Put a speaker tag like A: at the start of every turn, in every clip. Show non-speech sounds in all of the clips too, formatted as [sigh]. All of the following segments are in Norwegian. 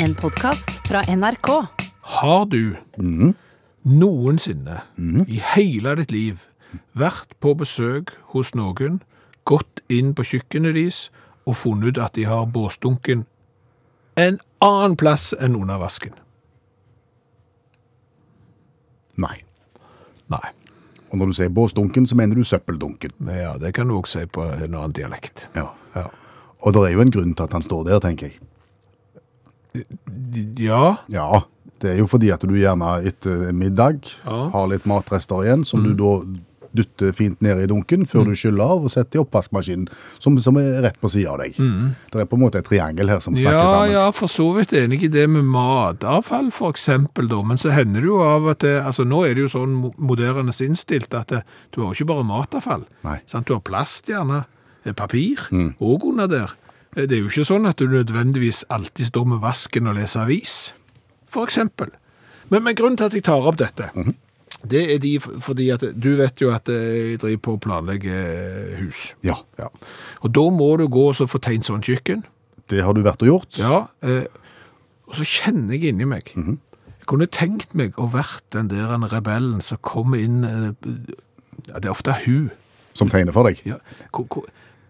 A: En podkast fra NRK.
B: Har du noensinne i hele ditt liv vært på besøk hos noen, gått inn på kjøkkenet deres og funnet ut at de har båsdunken en annen plass enn under vasken?
C: Nei.
B: Nei.
C: Og når du sier båsdunken, så mener du søppeldunken.
B: Men Ja, det kan du også si på en annen dialekt.
C: Ja.
B: Ja.
C: Og det er jo en grunn til at han står der, tenker jeg.
B: ja.
C: Ja, det er jo fordi at du gjerne etter middag
B: Ja. Mm.
C: har litt matrester igjen, som du da dytter fint ned i dunken før du skyller av og setter i oppvaskmaskinen, som, som er rett på siden av deg. Det er på en måte et triangel her som snakker
B: Mm. Ja,
C: sammen.
B: ja, for så vidt enig i det med matavfall, for eksempel, da. Men så hender det jo av at det, altså nå er det jo sånn mo- moderne innstilt at det, du har jo ikke bare matavfall.
C: Nei. Mm.
B: Sant? Du har plast gjerne, eh, papir, og under der. Eh, Det er jo ikke sånn at du nødvendigvis alltid står med vasken og leser avis, for eksempel. Men, men grunnen til at jeg tar opp dette,
C: Mhm.
B: det er de, f- fordi at du vet jo at eh, jeg driver på å planlegge eh, hus.
C: Ja,
B: Ja. Og da må du gå og så få tegnet sånn kjøkken.
C: det har du vært og gjort.
B: Ja, eh, og så kjenner jeg inni meg. Jeg kunne tenkt meg å vært den der en rebellen som kommer inn eh, ja, Det er ofte hun.
C: Som tegner for deg.
B: Ja, hvor, hvor,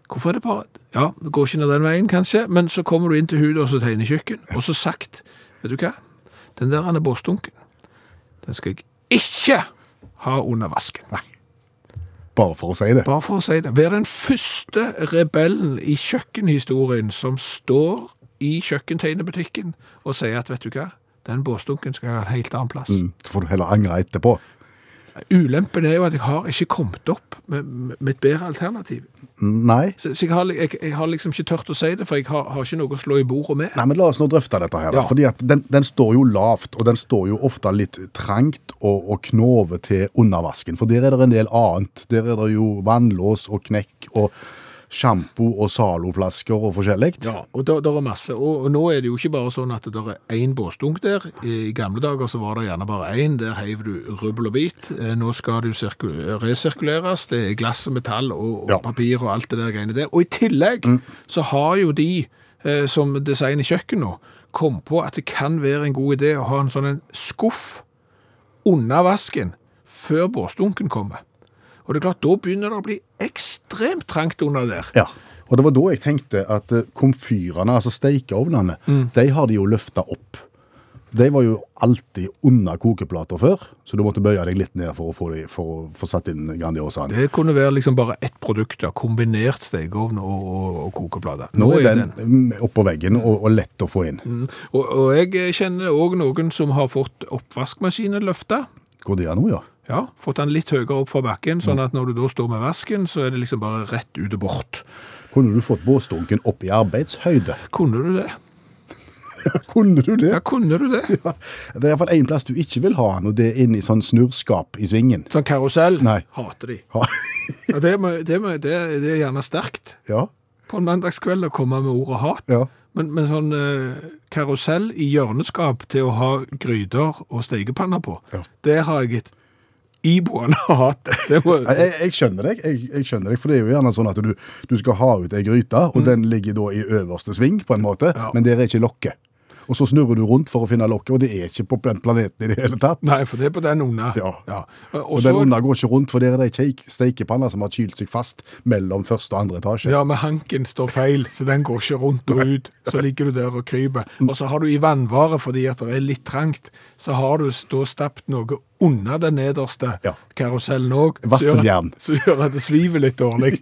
B: hvorfor er det bare Ja, det går ikke ned den veien, kanskje, men så kommer du inn til hun og så tegner kjøkken, og så sagt Vet du hva? Den der ene båsdunken, den skal jeg ikke ha under vasken.
C: Bare for å si det.
B: Bare for å si det. Vær den første rebellen i kjøkkenhistorien som står i kjøkkentegnebutikken og sier at, vet du hva, den båsdunken skal ha en helt annen plass.
C: Mm, Så får du heller angre etterpå.
B: Ulempen er jo at jeg har ikke kommet opp med, med et bedre alternativ.
C: Mm, Nei.
B: Så, så jeg, har, jeg, jeg har liksom ikke tørt å si det, for jeg har, har ikke noe å slå i bordet med.
C: Nei, men La oss nå drøfte dette. her, da.
B: Ja.
C: Fordi at den, den står jo lavt, og den står jo ofte litt trangt og, og knove til under vasken. For der er det en del annet. Der er det jo vannlås og knekk og sjampo og Zalo-flasker og forskjellig.
B: Ja, og der, der er masse. Og, og nå er det jo ikke bare sånn at det der er én båsdunk der. I gamle dager så var det gjerne bare én. Der heiv du rubbel og bit. Eh, Nå skal du sirku- resirkuleres. Det er glass og metall og, og
C: Ja.
B: papir og alt det der greiene der. Og i tillegg så har jo de eh, som designer kjøkken nå, kom på at det kan være en god idé å ha en sånn en skuff under vasken før båsdunken kommer. Og det er klart, da begynner det å bli ekstremt trangt under der.
C: Ja. Og det var da jeg tenkte at eh, komfyrene, altså stekeovnene,
B: Mm.
C: de har de jo løfta opp. De var jo alltid under kokeplater før, så du måtte bøye deg litt ned for å få, de, for å få satt inn Grandiosaen.
B: Det kunne være liksom bare ett produkt, da, kombinert stekeovn og, og, og kokeplater.
C: Nå er den mm, oppå veggen og, og lett å få inn.
B: Mm. Og, og jeg kjenner òg noen som har fått oppvaskmaskinen løfta.
C: Går det an nå, ja?
B: Ja, fått den litt høyere opp fra bakken, sånn at når du da står med vasken, så er det liksom bare rett ut og bort.
C: Kunne du fått båsdunken opp i arbeidshøyde? [laughs]
B: Kunne du det?
C: Kunne du det?
B: Ja, kunne du det?
C: Det er iallfall én plass du ikke vil ha den, og det er inne i sånn snurrskap i svingen. [laughs]
B: Sånn karusell?
C: Nei.
B: Hater de.
C: Ha.
B: Ja, det, må, det, må, det, det er gjerne sterkt
C: Ja,
B: på en mandagskveld å komme med ordet hat.
C: ja.
B: Men, men sånn eh, karusell i hjørneskap til å ha gryter og stekepanner på,
C: Ja.
B: det har jeg et iboende
C: [laughs]
B: hat. Eh, Det må,
C: Nei, Jeg, jeg skjønner deg, jeg, jeg skjønner deg, for det er jo gjerne sånn at du, du skal ha ut ei gryte, og den ligger da i øverste sving, på en måte,
B: Mm. Ja.
C: men der er ikke lokket. Og så snurrer du rundt for å finne lokket, og det er ikke på den planeten i det hele tatt.
B: nei, for det er på den unna.
C: Ja.
B: Og,
C: [laughs] Og
B: så,
C: den under går ikke rundt, for der er det ei kjeik- steikepanne som har kylt seg fast mellom første og andre etasje.
B: ja, med hanken står feil, så den går ikke rundt og ut. Så ligger du der og kryper.
C: Mm.
B: Og så har du i vannvare, fordi at det er litt trangt, så har du da stappet noe under den nederste
C: Ja.
B: karusellen òg.
C: Vaffeljern.
B: Som gjør at det sviver litt dårlig.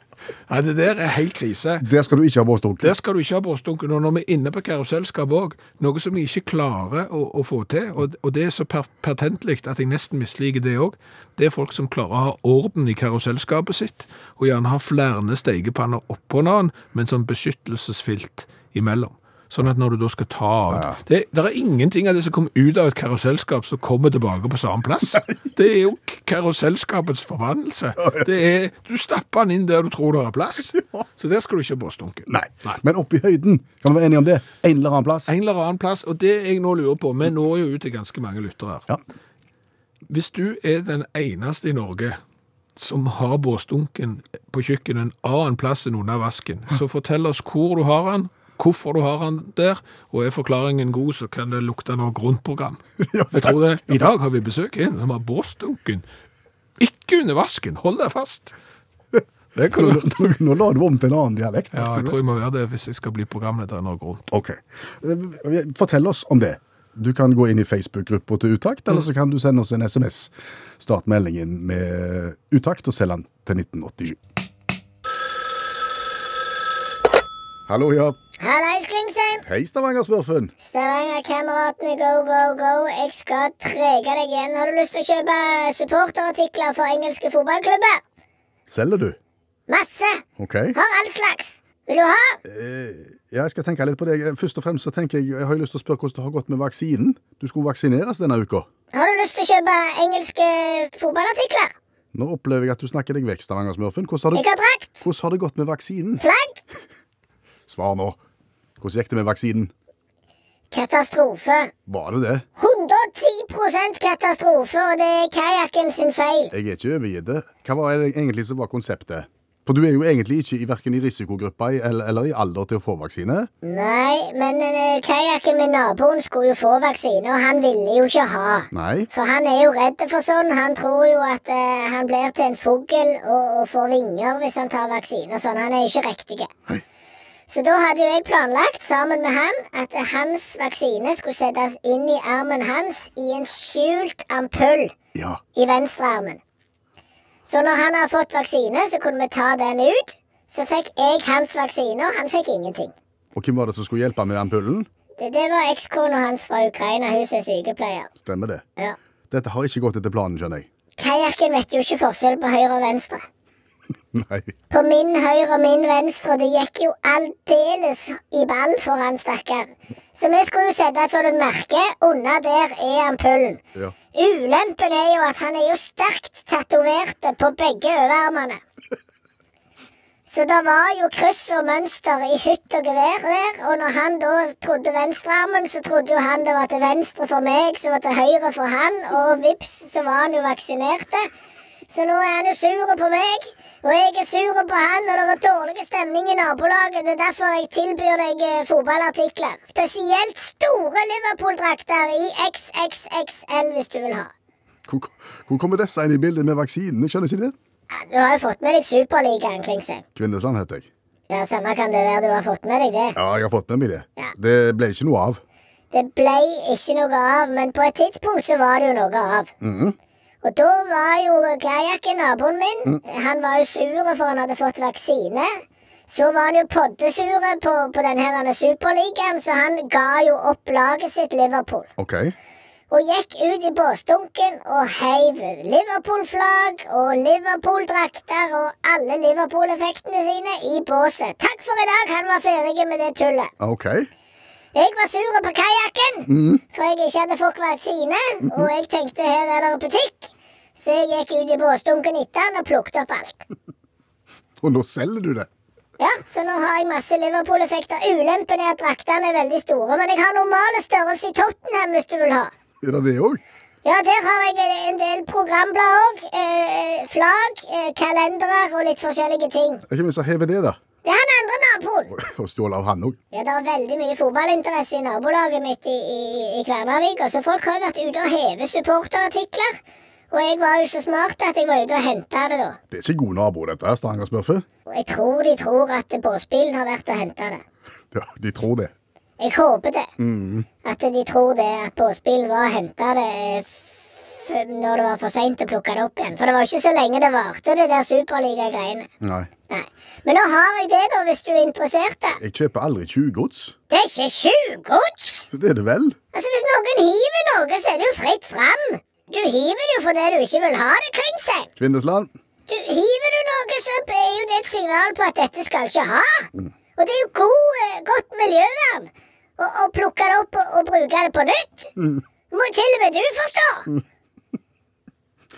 C: [laughs]
B: Nei, det der er helt krise.
C: Der skal du ikke ha båsdunken.
B: Der skal du ikke ha brystdunken. Og når vi er inne på karusellskap òg, noe som vi ikke klarer å, å få til, og, og det er så per pertentlig at jeg nesten misliker det òg, det er folk som klarer å ha orden i karusellskapet sitt, og gjerne har flere stekepanner oppå hverandre, men som beskyttelsesfilt imellom. Sånn at når du da skal ta av det, det er ingenting av det som kommer ut av et karusellskap som kommer tilbake på samme plass. Det er jo k- karusellskapets forbannelse. Det er, du stapper den inn der du tror det er plass. Så der skal du ikke ha brystdunken.
C: Nei. Men oppe i høyden, kan vi være enige om det? En eller annen plass?
B: En eller annen plass, og det jeg nå lurer på, vi når jo ut til ganske mange lyttere her.
C: Ja.
B: Hvis du er den eneste i Norge som har båsdunken på kjøkkenet en annen plass enn under vasken, så fortell oss hvor du har den, hvorfor du har han der, og er forklaringen god, så kan det lukte noe [laughs] grundprogram. Jeg tror det. I dag har vi besøk av en som har båsdunken. Ikke under vasken, hold deg fast! Det kan
C: Nå,
B: [laughs] du...
C: nå, nå la du om til en annen dialekt.
B: Ja,
C: merker
B: jeg
C: du?
B: tror jeg må være det hvis jeg skal bli programleder i Norge Rundt.
C: Ok. Eh, Fortell oss om det. Du kan gå inn i Facebook-gruppa til Utakt, eller så kan du sende oss en SMS. Start meldingen med Utakt og selg den til 1987. Hallo, ja.
D: Hallais, Klingsheim!
C: Hei, Stavanger-smurfen.
D: Stavanger-kameratene go, go, go. Jeg skal trege deg igjen. Har du lyst til å kjøpe supporterartikler for engelske fotballklubber?
C: Selger du?
D: Masse!
C: Ok.
D: Har all slags. Vil du ha?
C: Ja, jeg skal tenke litt på det. Først og fremst så tenker jeg, jeg har jo lyst til å spørre hvordan det har gått med vaksinen. Du skulle vaksineres denne uka.
D: Har du lyst til å kjøpe engelske fotballartikler?
C: Nå opplever jeg at du snakker deg vekk, Stavanger-smurfen. Hvordan,
D: Jeg
C: har det-
D: har drakt,
C: hvordan har det gått med vaksinen?
D: flagg,
C: Svar nå. Hvordan gikk det med vaksinen?
D: katastrofe.
C: Var det det?
D: 110 katastrofe, og det er kajakken sin feil.
C: Jeg er ikke overgitt det. Hva var det egentlig som var konseptet? For du er jo egentlig ikke i hverken i risikogruppa i- eller, eller i alder til å få vaksine.
D: Nei, men eh, kajakken min naboen skulle jo få vaksine, og han ville jo ikke ha.
C: Nei.
D: For han er jo redd for sånn. Han tror jo at eh, han blir til en fugl og, og får vinger hvis han tar vaksine og sånn. Han er jo ikke riktig.
C: Hei.
D: Så da hadde jo jeg planlagt sammen med han at eh, hans vaksine skulle settes inn i armen hans i en skjult ampull
C: Ja.
D: i venstrearmen. Så når han har fått vaksine, så kunne vi ta den ut. Så fikk jeg hans vaksine, og han fikk ingenting.
C: Og hvem var det som skulle hjelpe med ampullen?
D: Det, det var ekskona hans fra Ukraina. Hun som er sykepleier.
C: Stemmer det.
D: Ja.
C: Dette har ikke gått etter planen, skjønner jeg. [laughs]
D: Kajakken vet jo ikke forskjell på høyre og venstre.
C: Nei.
D: på min høyre og min venstre, og det gikk jo aldeles i ball for han stakkar. Så vi skulle jo sette et sånt merke. Under der er ampullen.
C: Ja.
D: Ulempen er jo at han er jo sterkt tatoverte på begge overarmene. Så det var jo kryss og mønster i hytt og gevær der, og når han da trodde venstrearmen, så trodde jo han det var til venstre for meg, som var til høyre for han, og vips, så var han jo vaksinerte. Så nå er han jo sur på meg, og jeg er sur på han, og det er dårlig stemning i nabolaget. Det er derfor jeg tilbyr deg eh, fotballartikler. Spesielt store Liverpool-drakter i XXXL hvis du vil ha.
C: Hvor, hvor kommer disse inn i bildet med vaksinen? Jeg skjønner ikke det.
D: Ja, Du har jo fått med deg Superligaen, Klingsheim.
C: Kvinnesland heter jeg.
D: Ja, samme kan det være du har fått med deg det.
C: Ja, jeg har fått med meg det.
D: Ja.
C: Det ble ikke noe av.
D: Det ble ikke noe av, men på et tidspunkt så var det jo noe av. Og da var jo kajakken naboen min. Han var jo sur for han hadde fått vaksine. Så var han jo poddesure på, på den her denne superligaen, så han ga jo opp laget sitt Liverpool.
C: OK.
D: Og gikk ut i båsdunken og heiv Liverpool-flagg og Liverpool-drakter og alle Liverpool-effektene sine i båset. Takk for i dag, han var ferdig med det tullet.
C: OK.
D: Jeg var sur på kajakken, for jeg ikke hadde fått vaksine. Og jeg tenkte her er det butikk, så jeg gikk ut i båsdunken etter han og plukket opp alt.
C: Og nå selger du det.
D: Ja, Så nå har jeg masse Liverpool-effekter. Ulempen er at draktene er veldig store, men jeg har normal størrelse i Tottenham hvis du vil ha.
C: Er det det òg?
D: Ja, der har jeg en del programblad òg. Eh, flagg, eh, kalendere og litt forskjellige ting.
C: Hvem er det som hever det, da? [laughs]
D: Det er han andre naboen.
C: Og stjålet av han òg?
D: Ja, Det er veldig mye fotballinteresse i nabolaget mitt i, i, i Kvernavik. og Så folk har jo vært ute og hevet supporterartikler. Og jeg var jo så smart at jeg var ute og henta det, da.
C: Det er ikke god nabo, dette her, Stavanger-smurfen.
D: Og jeg tror de tror at båsbilen har vært og henta det.
C: [laughs] Ja, de tror det.
D: Jeg håper det. At de tror det, at båsbilen var og henta det eh, f når det var for seint å plukke det opp igjen. For det var ikke så lenge det varte, det der superliga-greiene.
C: Nei.
D: Nei. Men nå har jeg det, da, hvis du er interessert. da.
C: Jeg kjøper aldri 20 gods.
D: Det er ikke tjuvgods!
C: Det er det vel?
D: Altså, hvis noen hiver noe, så er det jo fritt fram. Du hiver det jo fordi du ikke vil ha det kring seg.
C: Kvindesland.
D: Du hiver du noe, så er jo det et signal på at dette skal jeg ikke ha. Og det er jo god, eh, godt miljøvern å å plukke det opp og, og bruke det på nytt. Må til og med du forstå.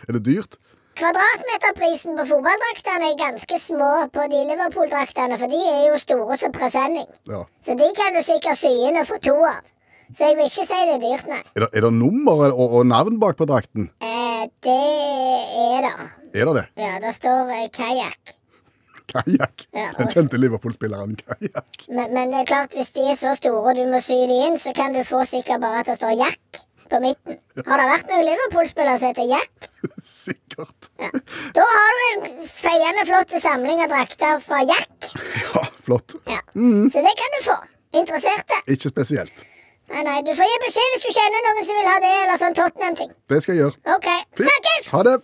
C: Er det dyrt?
D: Kvadratmeterprisen på fotballdraktene er ganske små på de Liverpool-draktene, for de er jo store som presenning.
C: Ja.
D: Så de kan du sikkert sy inn og få to av. Så jeg vil ikke si det er dyrt, nei.
C: Er det, er det nummer og, og navn bak på drakten?
D: Eh, det er der.
C: Er det [laughs] det?
D: Ja, der står eh, kajakk.
E: Kajakk.
D: Ja.
E: Den kjente Liverpool-spilleren Kajakk.
C: [laughs]
D: Men, men det er klart, hvis de er så store og du må sy de inn, så kan du få sikkert bare at det står Jack på midten. Har det vært noen Liverpool-spiller som heter Jack?
E: Sikkert.
D: Ja. Da har du en feiende flott samling av drakter fra Jack.
E: Ja, flott.
D: Ja. Så det kan du få. Interesserte?
E: Ikke spesielt.
D: Nei, nei, du får gi beskjed hvis du kjenner noen som vil ha det, eller sånn Tottenham-ting.
E: Det skal jeg gjøre.
D: OK. Snakkes!
E: Ha det!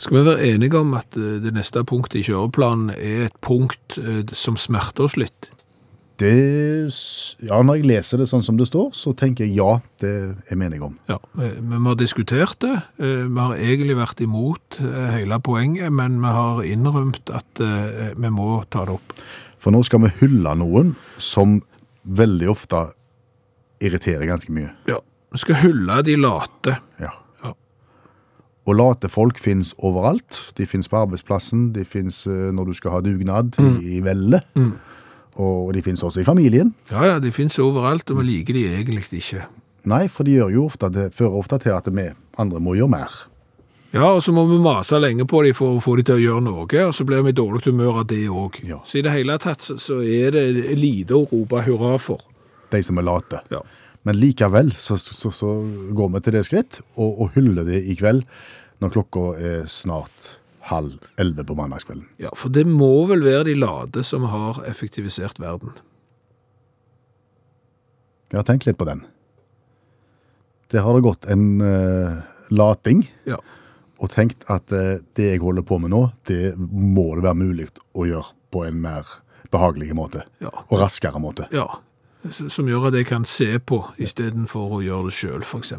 B: Skal vi være enige om at eh, det neste punktet i kjøreplanen er et punkt eh, som smerter oss litt?
E: Det s- Ja, når jeg leser det sånn som det står, så tenker jeg ja, det er mening om.
B: Ja, eh, men vi har diskutert det. Eh, Vi har egentlig vært imot eh, hele poenget, men vi har innrømt at eh, vi må ta det opp.
E: For nå skal vi hylle noen som veldig ofte irriterer ganske mye.
B: Ja. Vi skal hylle de late.
E: Ja.
B: Ja.
E: Og late folk finnes overalt. De finnes på arbeidsplassen, de finnes eh, når du skal ha dugnad i, i vellet. Og de finnes også i familien.
B: Ja, ja, de finnes overalt, og vi liker de egentlig ikke.
E: Nei, for de gjør jo ofte, det fører ofte til at vi andre må gjøre mer.
B: Ja, og så må vi mase lenge på dem for å få dem til å gjøre noe, og så blir vi i dårlig humør av det òg.
E: Ja.
B: Så i det hele tatt så- så er det lite å rope hurra for.
E: De som er late.
B: Ja.
E: Men likevel så, så, så går vi til det skritt og, og hyller det i kveld når klokka er snart halv elleve på mandagskvelden.
B: ja, for det må vel være de late som har effektivisert verden.
E: Ja, tenk litt på den. Det har det gått en eh, lating
B: Ja.
E: og tenkt at eh, det jeg holder på med nå, det må det være mulig å gjøre på en mer behagelig måte.
B: Ja.
E: Og raskere måte.
B: ja. S- Som gjør at jeg kan se på istedenfor å gjøre det sjøl, f.eks.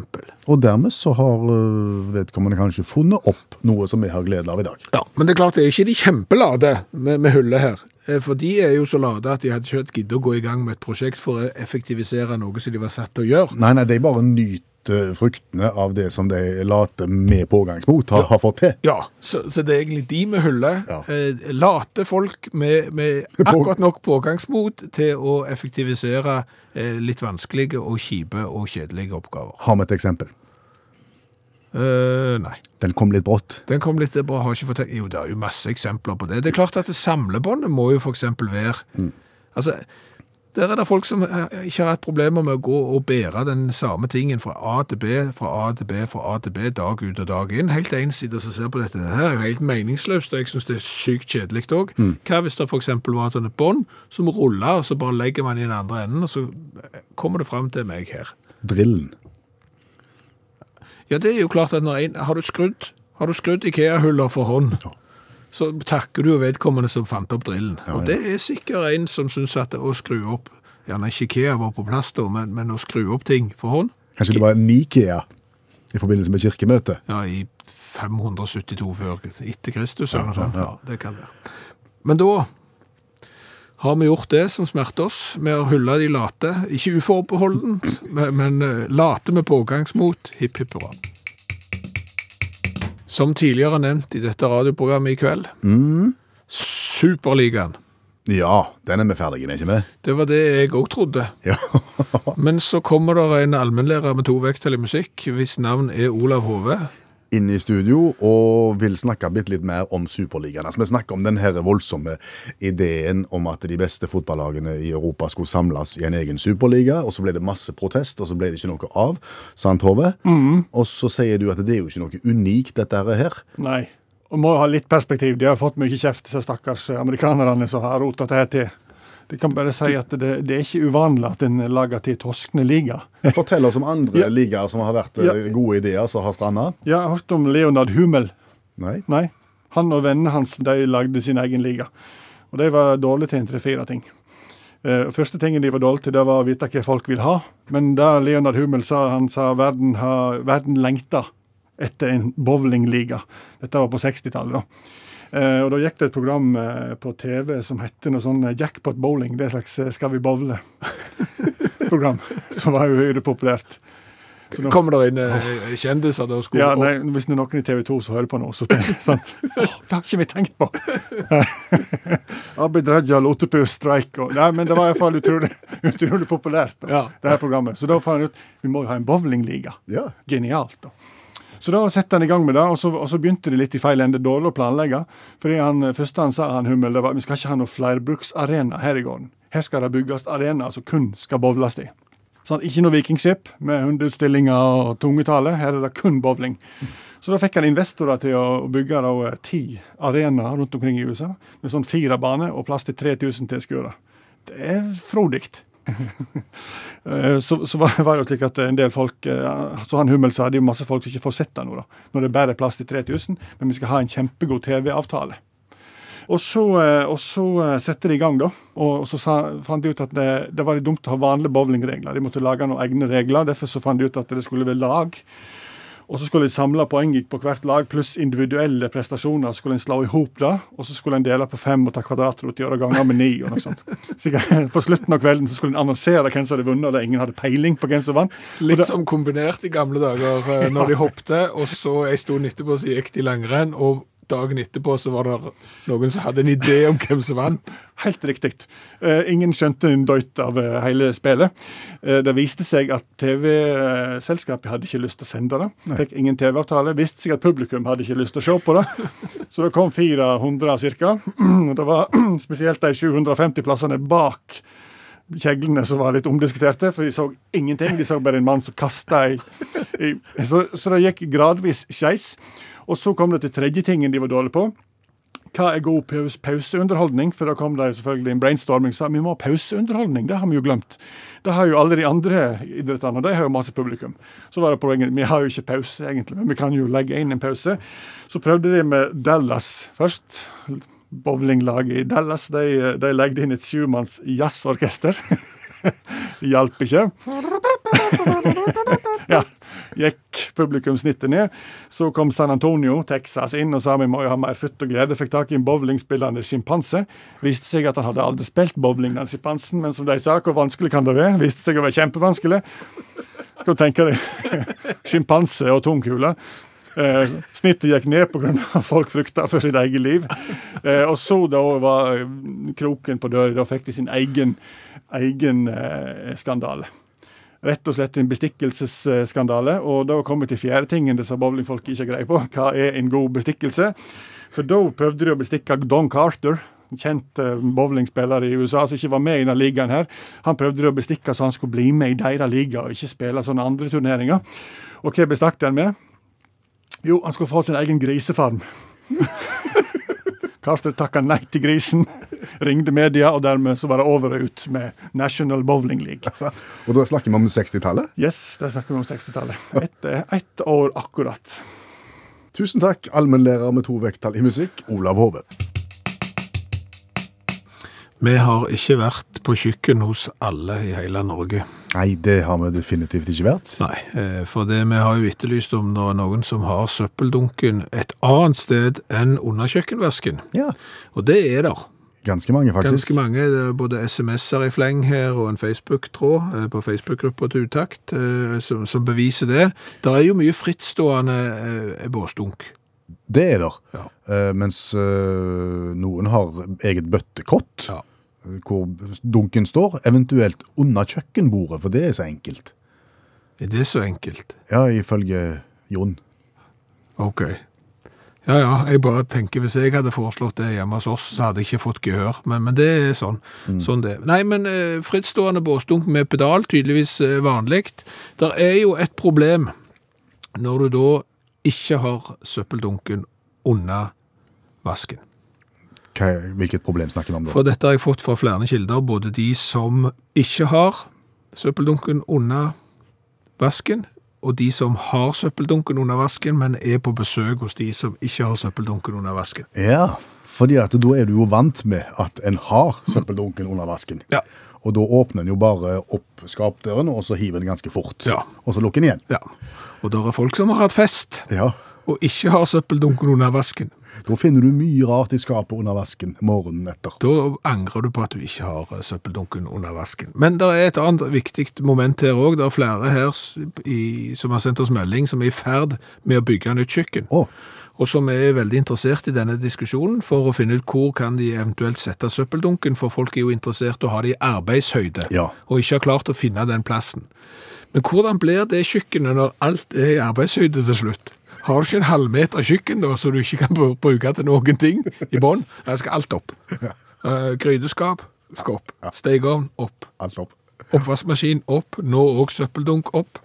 E: Og dermed så har eh, vedkommende kanskje funnet opp noe som vi har glede av i dag.
B: Ja, men det er klart det er ikke de kjempelate med, med hullet her. Eh, For de er jo så late at de hadde ikke giddet å gå i gang med et prosjekt for å effektivisere noe som de var satt til å gjøre.
E: Nei, nei, de bare nyter fruktene av det som de later med pågangsmot har, har fått til.
B: Ja, så, så det er egentlig de vi hyller.
E: Ja.
B: Eh, late folk med, med akkurat nok pågangsmot til å effektivisere eh, litt vanskelige og kjipe og kjedelige oppgaver.
E: Har vi et eksempel?
B: Eh, nei.
E: Den kom litt brått.
B: Den kom litt bra, har ikke fått Jo, det er jo masse eksempler på det. Det er klart at det samlebåndet må jo for eksempel være Altså, der er det folk som eh, ikke har hatt problemer med å gå og bære den samme tingen fra A til B, fra A til B, fra A til B, dag ut og dag inn. Helt ensidig som ser på dette. Det her er jo helt meningsløst, og jeg syns det er sykt kjedelig òg. Hva hvis det for eksempel var et sånt bånd som ruller, og så bare legger man i den andre enden, og så eh, kommer det fram til meg her.
E: Drillen.
B: Ja, det er jo klart at når en, har du skrudd, har du skrudd IKEA-huller for hånd, så takker du jo vedkommende som fant opp drillen. Og det er sikkert en som synes at å skru opp, gjerne ikke IKEA var på plass da, men, men å skru opp ting for hånd,
E: Kanskje det var en Nikea i forbindelse med kirkemøtet.
B: ja, i 572 før etter Kristus eller noe sånt, ja, det kan være. Men da har vi gjort det som smerter oss, med å hylle de late, ikke uforbeholden, men, men eh, late med pågangsmot, hipp hipp hurra. Som tidligere nevnt i dette radioprogrammet i kveld, Superligaen.
E: Ja, den er vi ferdige med, ikke vi?
B: Det var det jeg òg trodde.
E: Ja.
B: Men så kommer det en allmennlærer med to vekttall i musikk, hvis navn er Olav Hove.
E: Inne i studio og vil snakke bitte litt mer om Superligaen. Altså, vi snakker om den her voldsomme ideen om at de beste fotballagene i Europa skulle samles i en egen superliga, og så ble det masse protest, og så ble det ikke noe av. Sant, Hove?
F: Mm.
E: Og så sier du at det er jo ikke noe unikt, dette her.
F: Nei. Og må ha litt perspektiv. De har fått mye kjeft, disse stakkars eh, amerikanerne som har rota det her til. De kan bare si at det, det er ikke uvanlig at en lager til toskende liga.
E: Fortell oss om andre
F: [laughs] Ja.
E: ligaer som har vært eh,
F: Ja.
E: gode ideer, som har stranda.
F: Jeg har hørt om Leonard Hummel.
E: Nei.
F: Nei. Han og vennene hans de lagde sin egen liga. Og de var dårlige til en tre-fire ting. Eh, første tingen de var dårlige til, det var å vite hva folk vil ha. Men det Leonard Hummel sa, han sa verden, har, verden lengta etter en bowlingliga. Dette var på 60-tallet, da. Eh, og da gikk det et program eh, på TV som het noe sånn eh, Jackpot Bowling. Det er et slags eh, Skal vi [laughs] bowle-program, som var jo høyrepopulært. Så nå-
B: Kommer det inn eh, kjendiser da og skulle
F: ja, nei, hvis det er noen i TV 2 som hører på nå, så sant? [laughs] Åh, det har ikke vi tenkt på! [laughs] Abid Raja, Lotepu, Streik og Nei, men det var iallfall utrolig, [laughs] utrolig populært, da,
B: Ja.
F: det her programmet. Så da fant han ut vi må jo ha en bowlingliga.
E: Ja.
F: Genialt, da. Så da sette han i gang med det, og så, og så begynte det litt i feil ende. Dårlig å planlegge. Fordi han, eh, første han sa, han Hummel, det var vi skal ikke ha noe flerbruksarena her i gården. Her skal det bygges arenaer som kun skal bowles i. Sånn, ikke noe vikingskip med hundeutstillinger og tungetale. Her er det kun bowling. Så da fikk han investorer til å bygge da, eh, ti arenaer rundt omkring i USA med sånn fire baner og plass til 3000 tilskuere. Det er frodig. Eh, så, så var var det jo slik at en del folk eh, Så han Hummel sa det er jo masse folk som ikke får sett det nå, da. Når det bare er plass til 3000, men vi skal ha en kjempegod TV-avtale. Og så, eh, og så eh, sette de i gang, da. Og så sa, fant de ut at det, det var litt dumt å ha vanlige bowlingregler. De måtte lage noen egne regler. Derfor så fant de ut at det skulle være lag. Og så skulle de samle poeng på hvert lag pluss individuelle prestasjoner. Så skulle en slå i hop det, og så skulle en dele på fem og ta kvadratrot i år og ganger med ni. og noe sånt. Sikkert, på slutten av kvelden så skulle en annonsere hvem som hadde vunnet, og det ingen hadde peiling på hvem som vant. Og
B: Litt
F: det-
B: som Liksom kombinert i gamle dager, eh, [laughs] når de hoppte, og så en stund etterpå så gikk de langrenn, og dagen etterpå så var det noen som hadde en idé om hvem som vant.
F: Helt riktig. Eh, ingen skjønte en døyt av eh, hele spillet. Eh, det viste seg at TV-selskapet hadde ikke lyst til å sende det. Fikk ingen TV-avtale. Viste seg at publikum hadde ikke lyst til å se på det. Så det kom 400 [clears throat] ca. Det var spesielt de 750 plassene bak kjeglene som var litt omdiskuterte, for de så ingenting. De så bare en mann som kasta i, i så, så det gikk gradvis skeis. Og så kom det til tredje tingen de var dårlige på. Hva er god paus pauseunderholdning? For da kom det jo selvfølgelig en brainstorming sa vi må ha pauseunderholdning. Det har vi jo glemt. Det har jo alle de andre idrettene, og de har jo masse publikum. Så var det poenget vi har jo ikke pause, egentlig, men vi kan jo legge inn en pause. Så prøvde de med Dallas først. Bowlinglaget i Dallas de, de legde inn et sjumanns [laughs] jazzorkester. Hjalp ikke. ja, gikk publikumsnittet ned. Så kom San Antonio, Texas, inn og sa vi må jo ha mer futt og glede. Fikk tak i en bowlingspillende sjimpanse. Viste seg at han hadde aldri spilt bowling, den sjimpansen, men som de sa, hvor vanskelig kan det være? Viste seg å være kjempevanskelig. Hva tenker du? [laughs] Sjimpanse og tungkule. Eh, snittet gikk ned pga. at folk frykta for sitt eget liv. Eh, og så da var eh, kroken på døra. Da fikk de sin egen, egen eh, skandale rett og slett en bestikkelsesskandale. Og da kommer vi til fjerde tingen disse bowlingfolket ikke har greie på. Hva er en god bestikkelse? For da prøvde de å bestikke Don Carter. En kjent eh, bowlingspiller i USA som ikke var med i denne ligaen. her. Han prøvde de å bestikke så han skulle bli med i deres liga og ikke spille sånne andre turneringer. Og hva bestakk de han med? Jo, han skulle få sin egen grisefarm. [laughs] Carter takka nei til grisen, ringte media, og dermed så var det over og ut med National Bowling League.
C: [laughs] Og da snakker vi om 60-tallet.
F: Yes, der snakker vi om 60-tallet. Ett ett år akkurat.
C: Tusen takk, allmennlærer med to vekttall i musikk, Olav Hove.
B: Vi har ikke vært på kjøkken hos alle i hele Norge.
C: Nei, det har vi definitivt ikke vært.
B: Nei, eh, for det vi har jo etterlyst om det er noen som har søppeldunken et annet sted enn under kjøkkenvasken.
C: Ja,
B: Og det er der.
C: Ganske mange, faktisk.
B: Ganske mange. Det er både SMS-er i fleng her og en Facebook-tråd eh, på Facebook-gruppa til Utakt eh, som, som beviser det. Det er jo mye frittstående eh, båsdunk.
C: Det er der.
B: Ja.
C: Eh, mens eh, noen har eget bøttekott,
B: Ja.
C: eh, hvor dunken står, eventuelt under kjøkkenbordet, for det er så enkelt.
B: Er det så enkelt?
C: Ja, ifølge Jon.
B: Ok. Ja, ja, jeg bare tenker hvis jeg hadde foreslått det hjemme hos oss, så hadde jeg ikke fått gehør, men, men det er sånn. Sånn det. er. Nei, men eh, frittstående båsdunk med pedal, tydeligvis eh, vanlig. Der er jo et problem når du da ikke har søppeldunken under vasken.
C: Hva, hvilket problem snakker vi om da?
B: For dette har jeg fått fra flere kilder, både de som ikke har søppeldunken under vasken, og de som har søppeldunken under vasken, men er på besøk hos de som ikke har søppeldunken under vasken.
C: Ja, fordi at da er du jo vant med at en har søppeldunken under vasken.
B: Ja.
C: Og da åpner en jo bare opp skapdøren, og så hiver en ganske fort.
B: Ja.
C: Og så lukker en igjen.
B: Ja. Og der er folk som har hatt fest,
C: Ja.
B: og ikke har søppeldunken under vasken.
C: Da finner du mye rart i skapet under vasken morgenen etter.
B: Da angrer du på at du ikke har eh, søppeldunken under vasken. Men det er et annet viktig moment her òg. Det er flere her s- i, som har sendt oss melding, som er i ferd med å bygge nytt kjøkken.
C: Å,
B: og som er veldig interessert i denne diskusjonen for å finne ut hvor kan de eventuelt sette søppeldunken, for folk er jo interessert i å ha det i arbeidshøyde,
C: Ja.
B: og ikke har klart å finne den plassen. Men hvordan blir det kjøkkenet når alt er i arbeidshøyde til slutt? Har du ikke en halvmeter kjøkken da, som du ikke kan bru- bruke til noen ting i bånn? Nei, skal alt opp. Eh, Grydeskap skal opp. Stekeovn opp.
C: Alt opp.
B: Oppvaskmaskin opp. Nå òg søppeldunk opp.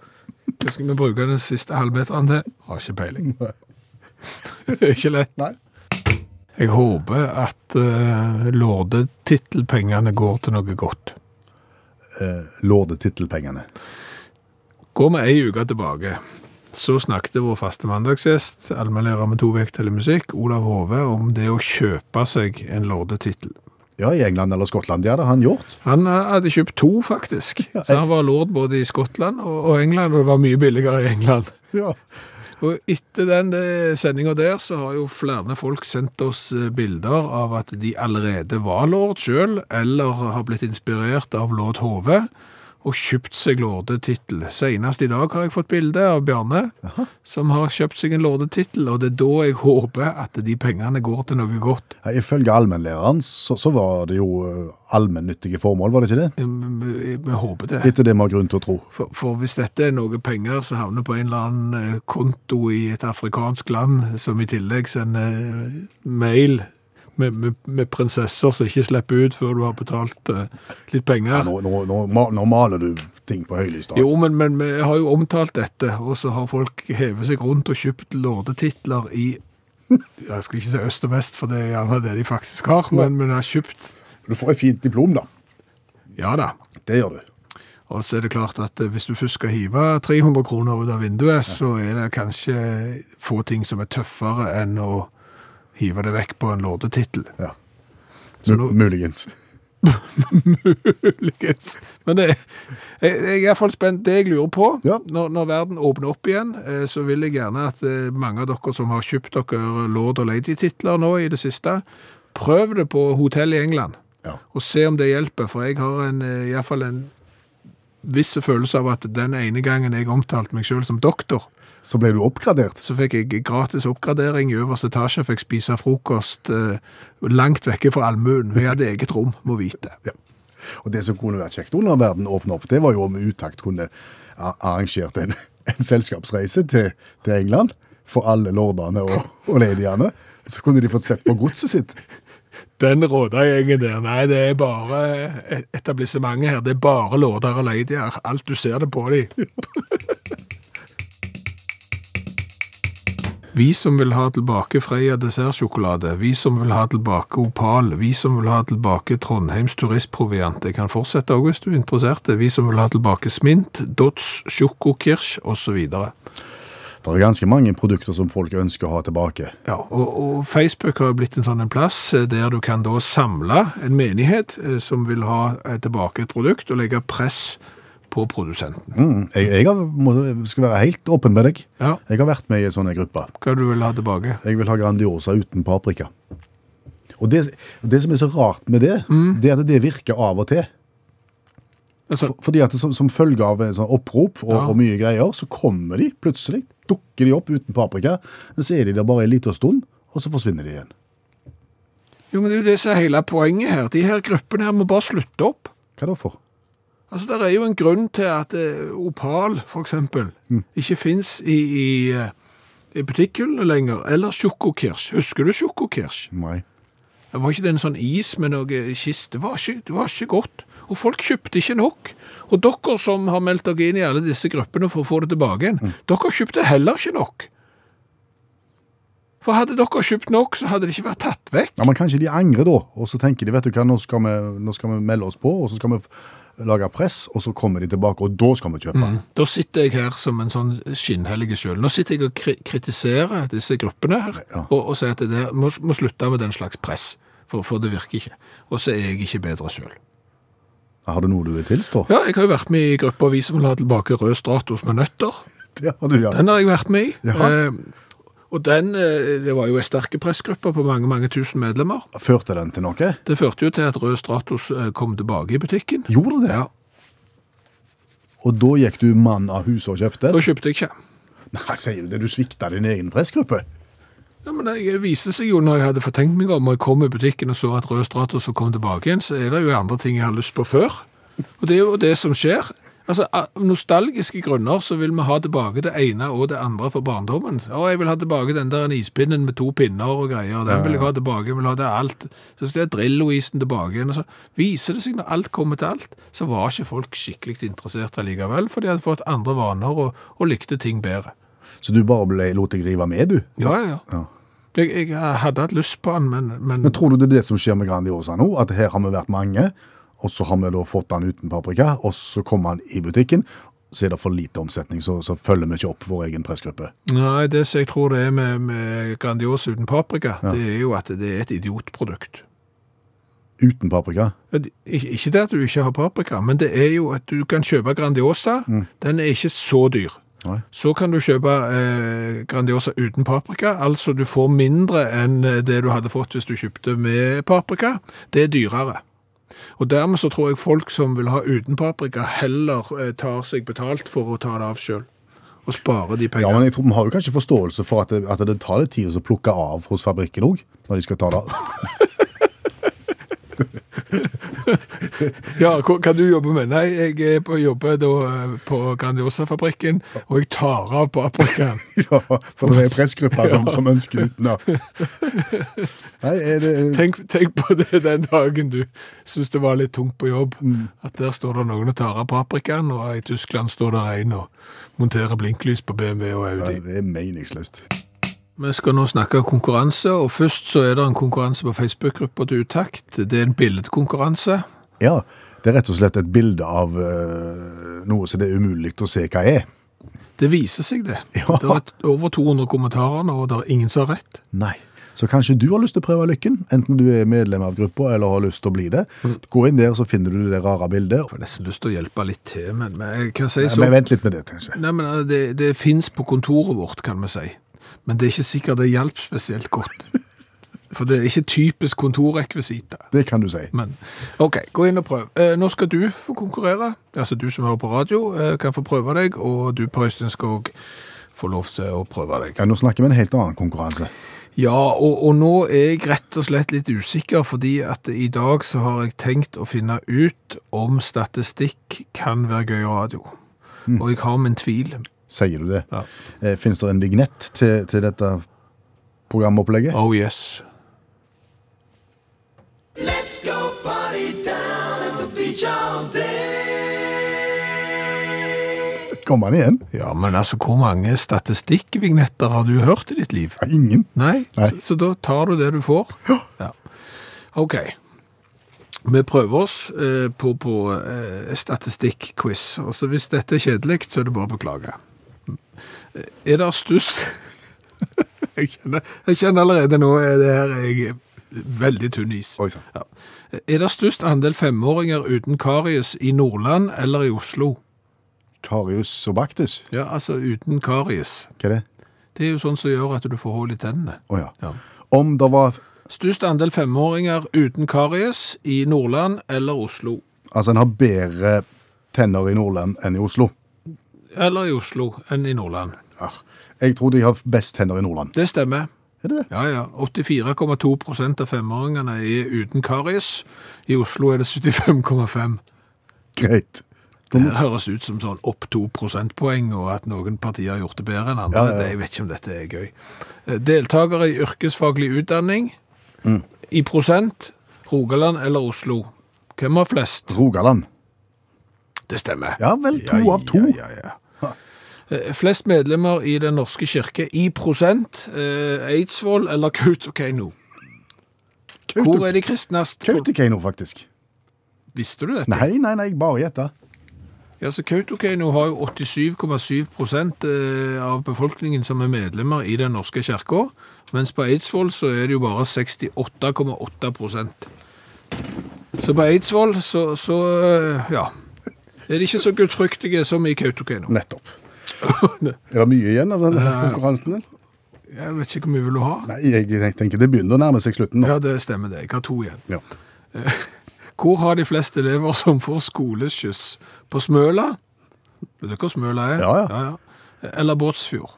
B: Hva skal vi bruke den siste halvmeteren til? Har ikke peiling. [laughs] ikke lett.
C: Nei.
B: Jeg håper at uh, lordetittelpengene går til noe godt.
C: Eh, Lordetittelpengene.
B: Går vi ei uke tilbake, så snakket vår faste mandagsgjest, allmennlærer med to vekttall i musikk, Olav Hove, om det å kjøpe seg en lordetittel.
C: Ja, i England eller Skottland. Det hadde han gjort.
B: Han eh, hadde kjøpt to, faktisk.
C: Ja,
B: Så han var lord både i Skottland og og England, og det var mye billigere i England.
C: Ja.
B: Og etter den eh, sendinga der, så har jo flere folk sendt oss eh, bilder av at de allerede var lord sjøl, eller har blitt inspirert av lord Hove, og kjøpt seg lordetittel. Senest i dag har jeg fått bilde av Bjarne, som har kjøpt seg en lordetittel, og det er da jeg håper at de pengene går til noe godt.
C: Ja, Ifølge allmennlæreren så, så var det jo eh, allmennyttige formål, var det ikke det?
B: Mm, Vi vi håper det.
C: Etter det vi har grunn til å tro.
B: For, for hvis dette er noe penger som havner på en eller annen eh, konto i et afrikansk land, som i tillegg sender eh, mail med, med, med prinsesser som ikke slipper ut før du har betalt eh, litt
C: Ja,
B: penger
C: nå, nå, nå, ma- nå maler du ting på høylys, da.
B: Jo, men, men vi har jo omtalt dette, og så har folk hevet seg rundt og kjøpt lordetitler i [laughs] Jeg skal ikke si øst og vest, for det er gjerne det de faktisk har, men, men har kjøpt
C: Du får et fint diplom, da.
B: Ja da.
C: Det gjør du.
B: Og så er det klart at eh, hvis du først skal hive 300 kroner ut av vinduet, så er det kanskje få ting som er tøffere enn å hive det vekk på en lordetittel.
C: Ja.
B: Så nå-
C: M- Muligens.
B: Muligens. Men det, jeg, jeg er iallfall spent. Det jeg lurer på,
C: Ja.
B: når, når verden åpner opp igjen, eh, så vil jeg gjerne at eh, mange av dere som har kjøpt dere lord- og lady-titler nå i det siste, prøv det på hotell i England.
C: Ja.
B: og se om det hjelper, for jeg har en, eh, i hvert fall en viss følelse av at den ene gangen jeg omtalte meg selv som doktor,
C: Så ble du oppgradert.
B: så fikk jeg gratis oppgradering i øverste etasje, fikk spise frokost eh, langt vekke fra allmuen. Vi hadde eget rom, må vite.
C: Ja. Og det som kunne vært kjekt under verden åpne opp, det var jo om Utakt kunne a- arrangert en, [laughs] en selskapsreise til, til England for alle lordene og, og ladyene. Så kunne de fått sett på godset sitt.
B: Den råda gjengen der, nei, det er bare e-, etablissementet her, det er bare låder og leidier, alt du ser det på dem. Vi som vil ha tilbake Freia dessertsjokolade, vi som vil ha tilbake Opal, vi som vil ha tilbake Trondheims turistproviant, jeg kan fortsette også hvis du er interessert, vi som vil ha tilbake Smint, Dots, Sjokokirsch og så videre.
C: Det er ganske mange produkter som folk ønsker å ha tilbake.
B: Ja, og, og Facebook har jo blitt en sånn en plass eh, der du kan da samle en menighet eh, som vil ha eh, tilbake et produkt, og legge press på produsenten.
C: Mm, jeg jeg har, må, skal være helt åpen med deg.
B: Ja.
C: Jeg har vært med i en sånn gruppe.
B: Hva du vil ha tilbake?
C: Jeg vil ha Grandiosa uten paprika. Og det, det som er så rart med det, det er at det virker av og til.
B: Altså,
C: For, fordi at det, som, som følge av en sånn opprop og,
B: Ja.
C: og mye greier, så kommer de plutselig. Dukker de opp uten paprika. Men så er de der bare en liten stund, og så forsvinner de igjen.
B: jo, men det er jo det som er hele poenget her. De her gruppene her må bare slutte opp.
C: Hva da for?
B: Altså, det er jo en grunn til at eh, Opal, for eksempel, ikke finnes i, i, eh, i butikkhyllene lenger, eller sjokokirsch. Husker du sjokokirsch?
C: Nei.
B: Det var ikke det en sånn is med noe kist. Det var ikke, det var ikke godt. Og folk kjøpte ikke nok. Og dere som har meldt dere inn i alle disse gruppene for å få det tilbake igjen, dere kjøpte heller ikke nok. For hadde dere kjøpt nok, så hadde det ikke vært tatt vekk.
C: Ja, Men kanskje de angrer da, og så tenker de vet du hva, nå skal vi, nå skal vi melde oss på, og så skal vi f- lage press, og så kommer de tilbake, og da skal vi kjøpe.
B: Da sitter jeg her som en sånn skinnhellige sjøl. Nå sitter jeg og kri kritiserer disse gruppene her,
C: Ja.
B: og, og sier at det der må, må slutte med den slags press, for, for det virker ikke. Og så er jeg ikke bedre sjøl.
C: Har du noe du vil tilstå?
B: Ja, jeg har jo vært med i gruppa Vi som vil ha tilbake rød stratos med nøtter.
C: [laughs] Det har du, ja.
B: Den har jeg vært med i.
C: Jaha.
B: Eh, og den, eh, det var jo en sterke pressgruppe på mange, mange tusen medlemmer.
C: Førte den til noe?
B: Det førte jo til at Rød Stratos eh, kom tilbake i butikken.
C: Gjorde det?
B: Ja.
C: Og da gikk du mann av huset og kjøpte?
B: Da kjøpte jeg ikke.
C: Nei, sier du det? Du svikta din egen pressgruppe?
B: Ja, men Det viste seg jo når jeg hadde fortenkt meg om, og jeg kom i butikken og så at Rød Stratos kom tilbake igjen, så er det jo andre ting jeg har lyst på før. Og det er jo det som skjer. Altså, Av nostalgiske grunner så vil vi ha tilbake det ene og det andre fra barndommen. Å, jeg vil ha tilbake den der ispinnen med to pinner og greier. Den vil jeg ha tilbake. Jeg vil ha det alt. Så skal jeg ha Drillo-isen tilbake igjen. og Så viser det seg når alt kommer til alt, så var ikke folk skikkelig interessert allikevel, for de hadde fått andre vaner og, og likte ting bedre.
C: Så du bare ble, lot deg rive med, du?
B: Ja, ja, ja.
C: Ja.
B: Jeg, jeg hadde hatt lyst på den, men, men
C: Men tror du det er det som skjer med Grandiosa nå? At her har vi vært mange, og så har vi da fått den uten paprika, og så kommer han i butikken, så er det for lite omsetning, så, så følger vi ikke opp vår egen pressgruppe.
B: Nei, det som jeg tror det er med, med Grandiosa uten paprika, det er jo at det er et idiotprodukt.
C: Uten paprika?
B: At- Ikke ikke det at du ikke har paprika, men det er jo at du kan kjøpe Grandiosa. Den er ikke så dyr.
C: Mm. Nei.
B: Så kan du kjøpe eh, Grandiosa uten paprika, altså du får mindre enn det du hadde fått hvis du kjøpte med paprika. Det er dyrere. Og dermed så tror jeg folk som vil ha uten paprika, heller eh, tar seg betalt for å ta det av sjøl. Og spare de
C: Ja,
B: pengene.
C: men jeg tror Vi har jo kanskje forståelse for at det, at det tar litt tid å plukke av hos fabrikken òg, når de skal ta det av. [laughs]
B: Ja, hva, hva du jobber med? Nei, jeg er på, jobber da eh, på Grandiosa-fabrikken, og jeg tar av paprikaen.
C: Ja, for det er pressgruppa som, som ønsker uten. [laughs] Ja. Nei, er det,
B: Tenk, tenk på det den dagen du syns det var litt tungt på jobb. At der står det noen og tar av paprikaen, og i Tyskland står det en og monterer blinklys på BMW og Audi.
C: det er meningsløst.
B: Vi skal nå snakke om konkurranse, og først så er det en konkurranse på Facebook-gruppa til Utakt. Det er en billedkonkurranse.
C: Ja, det er rett og slett et bilde av eh, noe som det er umulig å se hva er.
B: Det viser seg, [laughs] det.
C: Ja.
B: Det er over 200 kommentarer nå, og det er ingen som har rett.
C: Nei. Så kanskje du har lyst til å prøve lykken, enten du er medlem av gruppa eller har lyst til å bli det. Gå inn der, så finner du det rare bildet.
B: Jeg har nesten lyst til å hjelpe litt til, men, men jeg kan si så
C: Men vent litt med det, kanskje.
B: Nei, men eh, det, det fins på kontoret vårt, kan vi si. Men det er ikke sikkert det hjalp spesielt godt. For det er ikke typisk kontorrekvisita.
C: Det kan du si.
B: Men OK, gå inn og prøv. Eh, nå skal du få konkurrere. Altså du som hører på radio, eh, kan få prøve deg, og du Per Øystein skal òg få lov til å prøve deg.
C: Ja, nå snakker vi om en helt annen konkurranse.
B: Ja, og, og nå er jeg rett og slett litt usikker, fordi at i dag så har jeg tenkt å finne ut om statistikk kan være gøy radio. Og jeg har min tvil.
C: Sier du det?
B: Ja.
C: Eh, Finnes det en vignett til, til dette programopplegget?
B: Oh yes.
C: Kommer den igjen?
B: Ja, men altså, hvor mange statistikkvignetter har du hørt i ditt liv?
C: Ja, ingen.
B: Nei,
C: Nei.
B: Så, så da tar du det du får. Ja. Ok. Vi prøver oss eh, på, på eh, statistikk-quiz. Og så hvis dette er kjedelig, så er det bare å beklage. Eh, Er det størst [laughs] jeg, kjenner, jeg kjenner allerede nå er det her jeg er veldig tynn is.
C: Oi, sånn. sann.
B: Ja. Er det størst andel femåringer uten karies i Nordland eller i Oslo?
C: Karius og Baktus?
B: Ja, altså uten karies.
C: Hva er det?
B: Det er jo sånn som gjør at du får hull i tennene.
C: Å ja.
B: Ja.
C: Om det var
B: Størst andel femåringer uten karies i Nordland eller Oslo.
C: Altså, en har bedre tenner i Nordland enn i Oslo.
B: Eller i Oslo enn i Nordland.
C: Ja. Jeg tror de har best tenner i Nordland.
B: Det stemmer.
C: Er det det?
B: Ja, ja. 84,2 prosent av femåringene er uten karies. I Oslo er det 75,5.
C: Greit.
B: Det høres ut som sånn opp 2 prosentpoeng, og at noen partier har gjort det bedre enn andre.
C: Ja, ja, ja.
B: Det- Jeg vet ikke om dette er gøy. Eh, Deltakere i yrkesfaglig utdanning
C: Mm.
B: i prosent, Rogaland eller Oslo. Hvem har flest?
C: Rogaland.
B: Det stemmer.
C: Ja vel, to av to.
B: Ja, ja, ja. Eh, Flest medlemmer i Den norske kirke i prosent, eh, Eidsvoll eller Kautokeino? Hvor er de kristnest?
C: Kautokeino, faktisk.
B: Visste du dette?
C: Nei, nei, nei, jeg bare gjetta.
B: Ja, så Kautokeino har jo 87,7 prosent eh, av befolkningen som er medlemmer i Den norske kirka, mens på Eidsvoll så er det jo bare 68,8 prosent. Så på Eidsvoll så, så eh, ja, er de ikke så gudfryktige som i Kautokeino.
C: [laughs] Nettopp. Er det mye igjen av denne konkurransen? din?
B: Jeg vet ikke hvor mye vil du ha?
C: Nei, jeg tenk- tenker det begynner å nærme seg slutten nå.
B: Ja, det stemmer det. Jeg har to igjen.
C: Ja.
B: [laughs] Hvor har de fleste elever som får skoleskyss? På Smøla? Vet dere hvor Smøla er?
C: Ja, ja.
B: Eller Båtsfjord?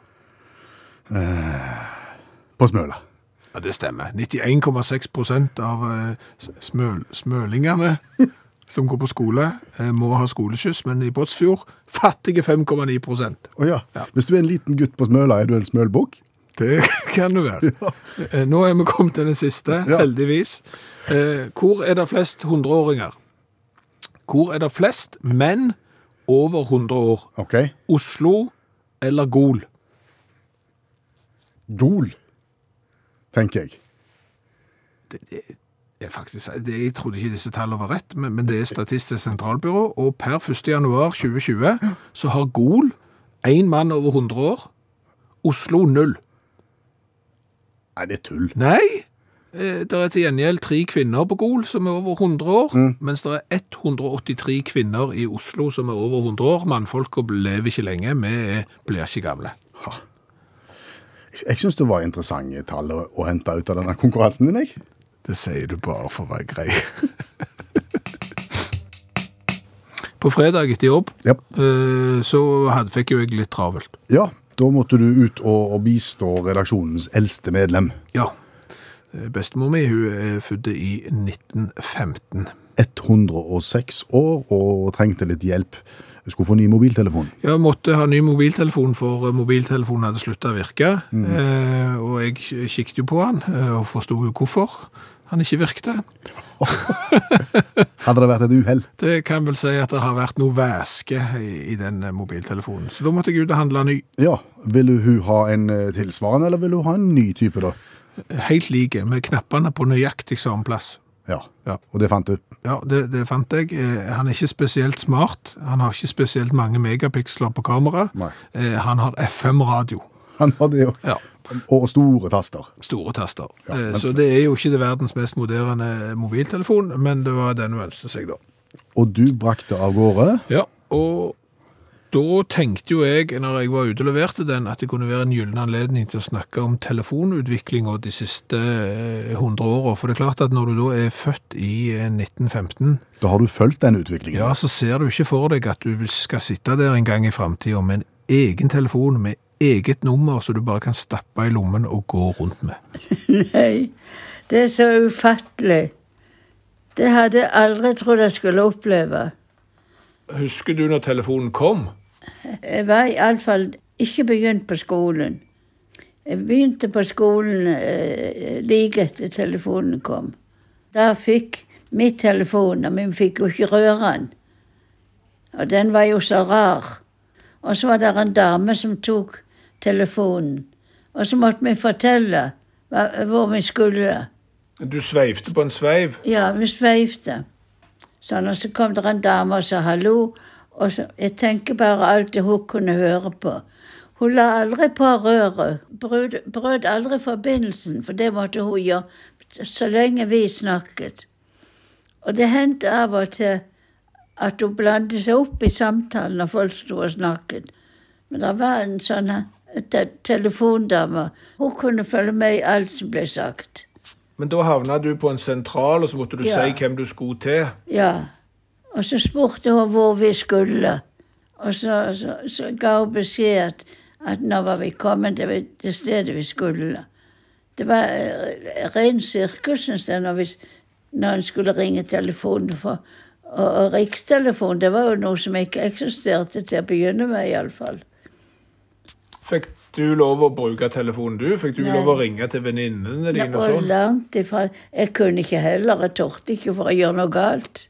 C: På Smøla.
B: Ja, det stemmer. 91,6 prosent av eh, s- smøl, smølingene som går på skole, eh, må ha skoleskyss, men i Båtsfjord fattige 5,9 prosent.
C: Å ja. Hvis du er en liten gutt på Smøla, er du en smølbukk?
B: Det [laughs] kan du være. Eh, Nå er vi kommet til den siste,
C: Ja.
B: heldigvis. Eh, Hvor er det flest hundreåringer? Hvor er det flest menn over 100 år?
C: OK.
B: Oslo eller Gol?
C: Gol, tenker jeg.
B: Jeg, faktisk, det, jeg trodde ikke disse tallene var rett, men, men det er Statistisk sentralbyrå, og per 1. januar 2020 så har Gol én mann over 100 år, Oslo null.
C: Nei, det er tull.
B: Nei, eh, det er til gjengjeld tre kvinner på Gol som er over 100 år, mens det er 183 kvinner i Oslo som er over 100 år. Mannfolka lever ikke lenge, vi er- blir ikke gamle.
C: Jeg- Jeg syns det var interessante tall å, å hente ut av denne konkurransen din, jeg.
B: Det sier du bare for å være grei. På fredag etter jobb
C: Ja.
B: eh, så hadde, fikk jo jeg litt travelt.
C: ja. Da måtte du ut og, og bistå redaksjonens eldste medlem.
B: Ja. Eh, Bestemor mi hun er født i 1915.
C: 106 år og trengte litt hjelp. Jeg skulle få ny mobiltelefon.
B: Ja, måtte ha ny mobiltelefon, for mobiltelefonen hadde slutta å virke. Eh, og jeg kikket jo på han, eh, og forsto jo hvorfor han ikke virkte.
C: Hadde det vært et uhell?
B: Det kan vel si at det har vært noe væske i, i den eh, mobiltelefonen. Så da måtte jeg ut og handle ny.
C: Ja. Ville hun ha en eh, tilsvarende, eller ville hun ha en ny type, da?
B: eh, Helt like, med knappene på nøyaktig samme plass.
C: Ja.
B: Ja.
C: Og det fant du?
B: Ja, det, det fant jeg. Eh, Han er ikke spesielt smart. Han har ikke spesielt mange megapiksler på kamera.
C: Nei.
B: Eh, Han har FM-radio.
C: Han var det òg.
B: Ja.
C: Og store taster.
B: Store taster.
C: Ja,
B: Eh,
C: men-
B: Så det er jo ikke det verdens mest moderne mobiltelefon, men det var den hun ønsket seg, da.
C: Og du brakte av gårde.
B: Ja, og da tenkte jo jeg, når jeg var ute og leverte den, at det kunne være en gyllen anledning til å snakke om telefonutviklinga de siste eh, 100 åra. For det er klart at når du da er født i eh, 1915,
C: Da har du fulgt den utviklingen.
B: Ja, så ser du ikke for deg at du skal sitte der en gang i fremtiden med en egen telefon, med eget nummer, så du bare kan stappe i lommen og gå rundt med.
G: Nei, det er så ufattelig. Det hadde jeg aldri trodd jeg skulle oppleve.
B: Husker du når telefonen kom?
G: Jeg var iallfall ikke begynt på skolen. Jeg begynte på skolen eh, like etter telefonen kom. Da fikk vi telefonen, men vi fikk jo ikke røre den. Og den var jo så rar. Og så var det en dame som tok telefonen. Og så måtte vi fortelle hva, hvor vi skulle.
B: Du sveivte på en sveiv.
G: Ja, vi sveivde. Sånn, og så kom det en dame og sa hallo. Og så, jeg tenker bare alt det hun kunne høre på. Hun la aldri på røret. Brød, brød aldri forbindelsen, for det måtte hun gjøre så lenge vi snakket. Og det hendte av og til at hun blandet seg opp i samtalen når folk sto og snakket. Men det var en sånn eh, te telefondame. Hun kunne følge med i alt som ble sagt.
B: Men da havna du på en sentral, og så måtte du
G: Ja.
B: si hvem du skulle til.
G: Ja. Og så spurte hun hvor vi skulle. Og så, så, så ga hun beskjed at, at nå var vi kommet til vi- til stedet vi skulle. Det var eh, ren sirkus, syns jeg, når, vi, s- når en skulle ringe telefonen. For, og, og rikstelefon, det var jo noe som ikke eksisterte til å begynne med, iallfall.
B: Fikk du lov å bruke telefonen, du? Fikk du
G: Nei.
B: lov å ringe til venninnene dine og
G: Og
B: sånn?
G: langt ifra. Jeg kunne ikke heller, jeg torde ikke for å gjøre noe galt.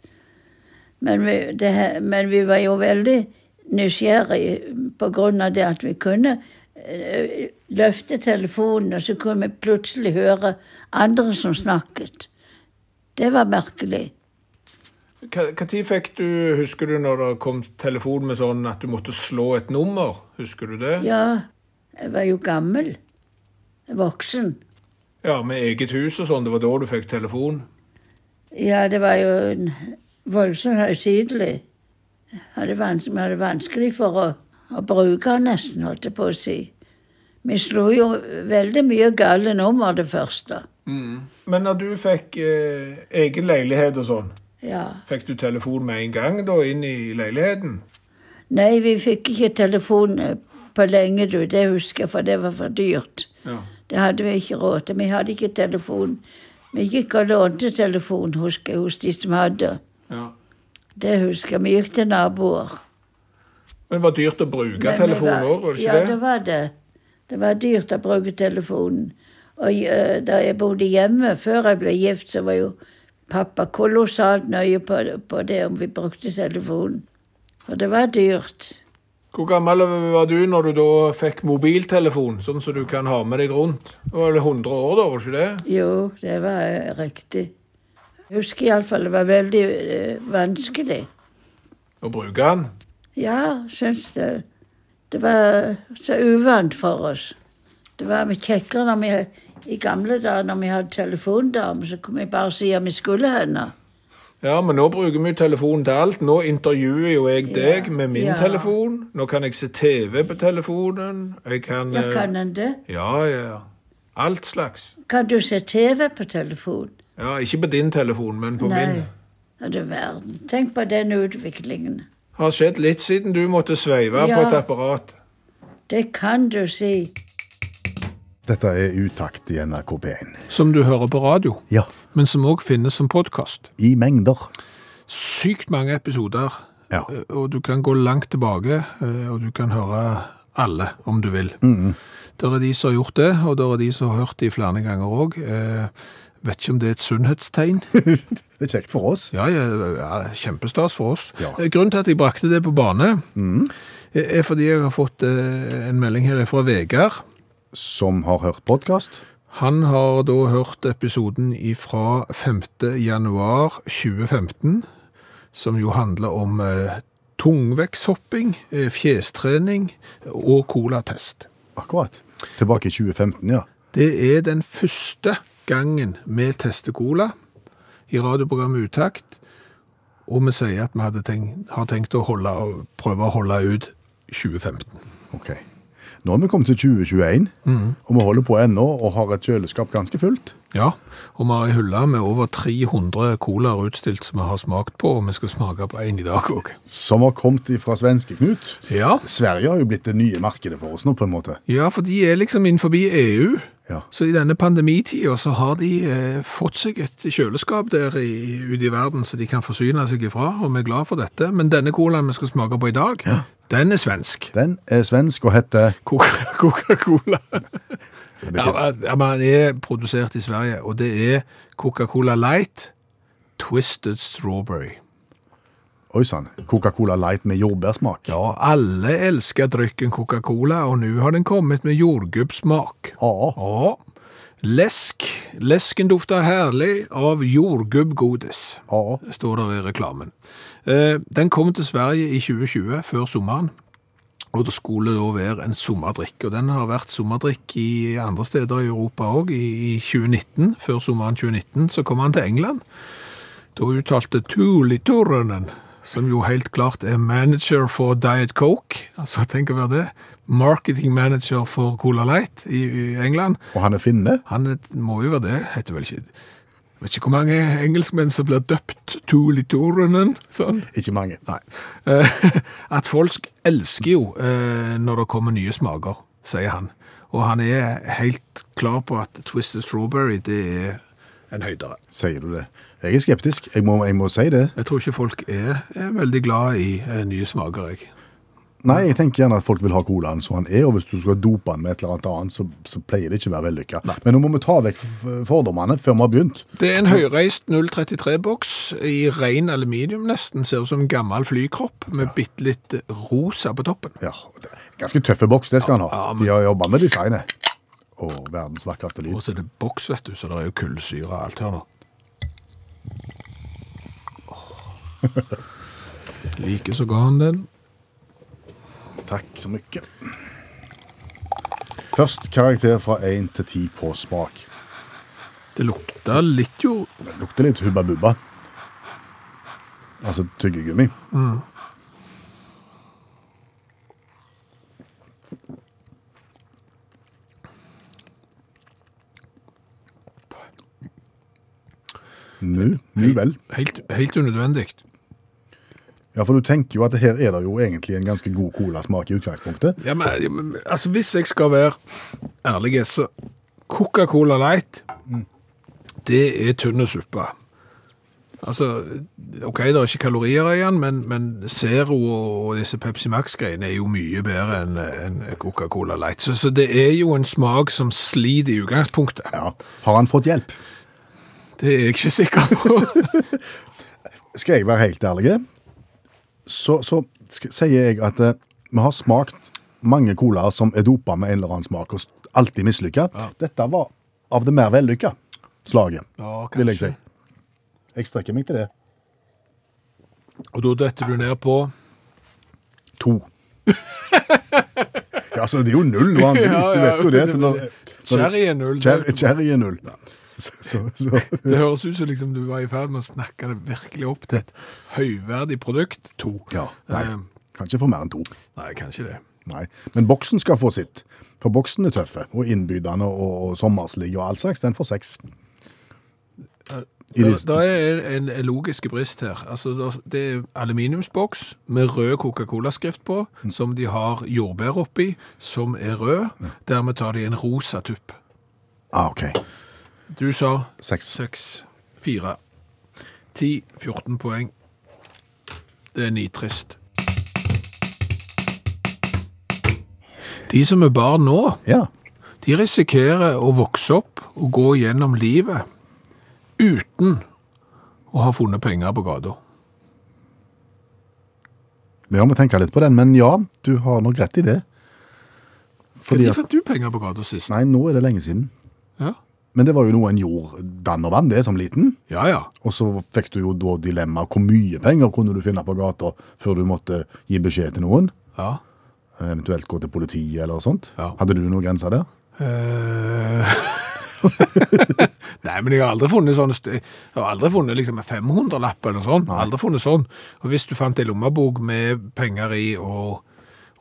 G: Men vi, det, he- men vi var jo veldig nysgjerrige på grunn av det at vi kunne eh, løfte telefonen, og så kunne vi plutselig høre andre som snakket. Det var merkelig.
B: Når fikk du Husker du når det kom telefon med sånn at du måtte slå et nummer? Husker du det?
G: Ja, jeg var jo gammel. Voksen.
B: Ja, med eget hus og sånn. Det var da du fikk telefon.
G: Ja, det var jo en voldsomt høytidelig. Hadde vans vi hadde vanskelig for å, å bruke den nesten, holdt jeg på å si. Vi slo jo veldig mye gale nummer det første.
B: Men når du fikk eh, egen leilighet og sånn,
G: Ja.
B: fikk du telefon med en gang da inn i leiligheten?
G: Nei, vi fikk ikke telefon eh, på lenge, du. Det husker jeg, for det var for dyrt.
B: Ja.
G: Det hadde vi ikke råd til. Vi hadde ikke telefon. Vi gikk og lånte telefon, husker jeg, hos de som hadde.
B: ja.
G: Det husker jeg. Vi gikk til naboer.
B: Men det var dyrt å bruke
G: Men det
B: telefonen
G: var-
B: òg, var det
G: ja,
B: ikke det?
G: det var det. Det var dyrt å bruke telefonen. Og eh, da jeg bodde hjemme før jeg ble gift, så var jo pappa kolossalt nøye på, på det om vi brukte telefonen. For det var dyrt.
B: Hvor gammel var du når du da fikk mobiltelefon, sånn som du kan ha med deg rundt? Det var vel 100 år da, var det ikke det?
G: Jo, det var eh, riktig. Jeg husker iallfall det var veldig eh, vanskelig.
B: Å bruke den?
G: Ja, syns det. Det var så uvant for oss. Det var mye kjekkere når vi, i gamle dager når vi hadde telefondame, så kunne vi bare si om vi skulle henne.
B: Ja, men nå bruker vi jo telefonen til alt. Nå intervjuer jo jeg deg med min
G: Ja.
B: telefon. Nå kan jeg se TV på telefonen. Jeg kan,
G: Ja,
B: eh,
G: kan en det?
B: Ja, ja. Alt slags.
G: Kan du se TV på telefon?
B: Ja, ikke på din telefon, men på min.
G: Ja, du verden. Tenk på den utviklingen.
B: Har skjedd litt siden du måtte sveive
G: Ja.
B: på et apparat.
G: Det kan du si.
C: Dette er utakt i NRK P1.
B: Som du hører på radio,
C: Ja,
B: men som òg finnes som podkast.
C: i mengder.
B: Sykt mange episoder,
C: Ja.
B: eh, og du kan gå langt tilbake, eh, og du kan høre alle, om du vil. Der er de som har gjort det, og der er de som har hørt de flere ganger òg. Eh, Vet ikke om det er et sunnhetstegn.
C: Det er kjekt for oss.
B: Ja, ja, ja kjempestas for oss.
C: Ja.
B: Eh, Grunnen til at jeg brakte det på bane, eh, er fordi jeg har fått eh, en melding her fra Vegard.
C: Som har hørt podkast.
B: Han har da hørt episoden fra 5. januar 2015, som jo handler om eh, tungvektshopping, eh, fjestrening og colatest.
C: Akkurat. Tilbake i 2015, ja.
B: Det er den første gangen vi tester cola i radioprogrammet Utakt, og vi sier at vi hadde tenkt, har tenkt å holde, å prøve å holde ut 2015.
C: Ok. Nå er vi kommet til 2021,
B: Mhm.
C: og vi holder på ennå og har et kjøleskap ganske fullt.
B: Ja, og vi har ei hylle med over 300 colaer utstilt som vi har smakt på, og vi skal smake på en i dag òg.
C: Som har kommet fra svenske Knut.
B: Ja.
C: Sverige har jo blitt det nye markedet for oss nå, på en måte.
B: ja, for de er liksom innenfor EU.
C: Ja.
B: Så i denne pandemitida så har de eh, fått seg et kjøleskap der i, ute i verden så de kan forsyne seg ifra, og vi er glad for dette. Men denne colaen vi skal smake på i dag, den er svensk.
C: Den er svensk og heter
B: Coca- Coca-Cola.
C: det
B: Ja,
C: er ikke-
B: men- ja, men den er produsert i Sverige, og det er Coca-Cola Light Twisted Strawberry.
C: Oi sann. Coca-Cola Light med jordbærsmak.
B: Ja, alle elsker drykken Coca-Cola, og nå har den kommet med jordgubbsmak.
C: Ja.
B: Ja. Lesk. Lesken dufter herlig av jordgubbgodis,
C: Ja.
B: står der i reklamen. Eh, Den kom til Sverige i 2020, før sommeren. Og det skulle da være en sommerdrikk. Og den har vært sommerdrikk i andre steder i Europa òg. I i 2019, før sommeren 2019, så kom han til England. Da uttalte Tuuli Turunen, som jo helt klart er manager for Diet Coke, altså tenk å være det, marketing manager for Cola Light i i England,
C: Og han er finne.
B: han het- må jo være det, heter vel ikke Vet ikke hvor mange engelskmenn som blir døpt Tuuli Turunen, sånn.
C: Ikke mange.
B: Nei. Eh, [laughs] At folk elsker jo eh, når det kommer nye smaker, sier han. Og han er helt klar på at Twisted Strawberry, det er en høydere.
C: Sier du det? Jeg er skeptisk. Jeg må, jeg må si det.
B: Jeg tror ikke folk er, er veldig glad i eh, nye smaker, jeg.
C: Nei, jeg tenker gjerne at folk vil ha colaen som han er, og hvis du skal dope den med et eller annet annet, så, så pleier det ikke å være vellykka. Men nå må vi ta vekk f- f- fordommene før vi har begynt.
B: Det er en høyreist 033-boks i ren aluminium nesten, ser ut som en gammel flykropp med bitte litt rosa på toppen.
C: Ja, det er Ganske tøffe boks, det skal han ha.
B: Ja, men-
C: De har jobba med designet. Å, verdens vakreste lyd.
B: Og så er det boks, vet du, så det er jo kullsyre og alt her nå. [laughs] Like så ga han den.
C: Takk så mye. Først karakter fra 1 til 10 på smak.
B: Det lukta litt jo
C: Det lukter litt Hubba Bubba. Altså tyggegummi. Nu, nu vel.
B: helt, helt unødvendig.
C: Ja, for du tenker jo at her er det jo egentlig en ganske god colasmak i utgangspunktet.
B: Ja, men, ja, men altså, hvis jeg skal være ærlig, så mm, Coca-Cola Light, det er tynne suppe. Altså, ok, det er ikke kalorier i den, men, men Zero og og disse Pepsi Max-greiene er jo mye bedre enn enn Coca-Cola Light. Så, så det er jo en smak som sliter i utgangspunktet.
C: Ja. Har han fått hjelp?
B: Det er jeg ikke sikker på.
C: Skal jeg være helt ærlig, så, så sk- sier jeg at eh, vi har smakt mange colaer som er dopa med en eller annen smak, og s- alltid mislykka. Dette var av det mer vellykka slaget,
B: [laughs] Ja,
C: vil jeg si.
B: kanskje.
C: Jeg strekker meg til det.
B: og da detter du ned på
C: To. [laughs] ja, altså, det er jo null vanligvis, du vet jo det.
B: men-
C: Når- når-
B: Cherry er null.
C: Cherry-
B: Det,
C: Cherry er null. [laughs] Så, så, så.
B: det høres ut som liksom du var i ferd med å snakke det virkelig opp til et høyverdig produkt. To.
C: Ja, nei,
B: Eh,
C: kan ikke få mer enn to.
B: nei, kanskje det.
C: Nei, men boksen skal få sitt. For boksen er tøffe, og innbydende, og, og sommerslig og all slags. Den får seks. I
B: Da,
C: listen.
B: da er en en logisk brist her. Altså, da- det er aluminiumsboks med rød Coca-Cola-skrift på,
C: Mm.
B: som de har jordbær oppi, som er rød. Dermed tar de en rosa tupp.
C: Ah, ok.
B: Du sa
C: Seks.
B: 6, 4, 10, 14 poeng. Det er nitrist. De som er barn nå,
C: Ja.
B: de risikerer å vokse opp og gå gjennom livet uten å ha funnet penger på gata.
C: Vi må tenke litt på den, men ja, du har nok rett i det. Fordi
B: Når
C: at,
B: fant du penger på gata sist?
C: nei, nå er det lenge siden.
B: Ja.
C: Men det var jo noe en gjorde dann og vann, det, som liten.
B: ja, ja.
C: Og så fikk du jo da dilemma, hvor mye penger kunne du finne på gata før du måtte gi beskjed til noen?
B: ja.
C: Eventuelt gå til politiet eller sånt?
B: Ja.
C: Hadde du noen grenser der?
B: Eh, [laughs] Nei, men jeg har aldri funnet sånn st- Jeg har aldri funnet liksom en 500-lapp eller sånn. Aldri funnet sånn. Og hvis du fant ei lommebok med penger i og,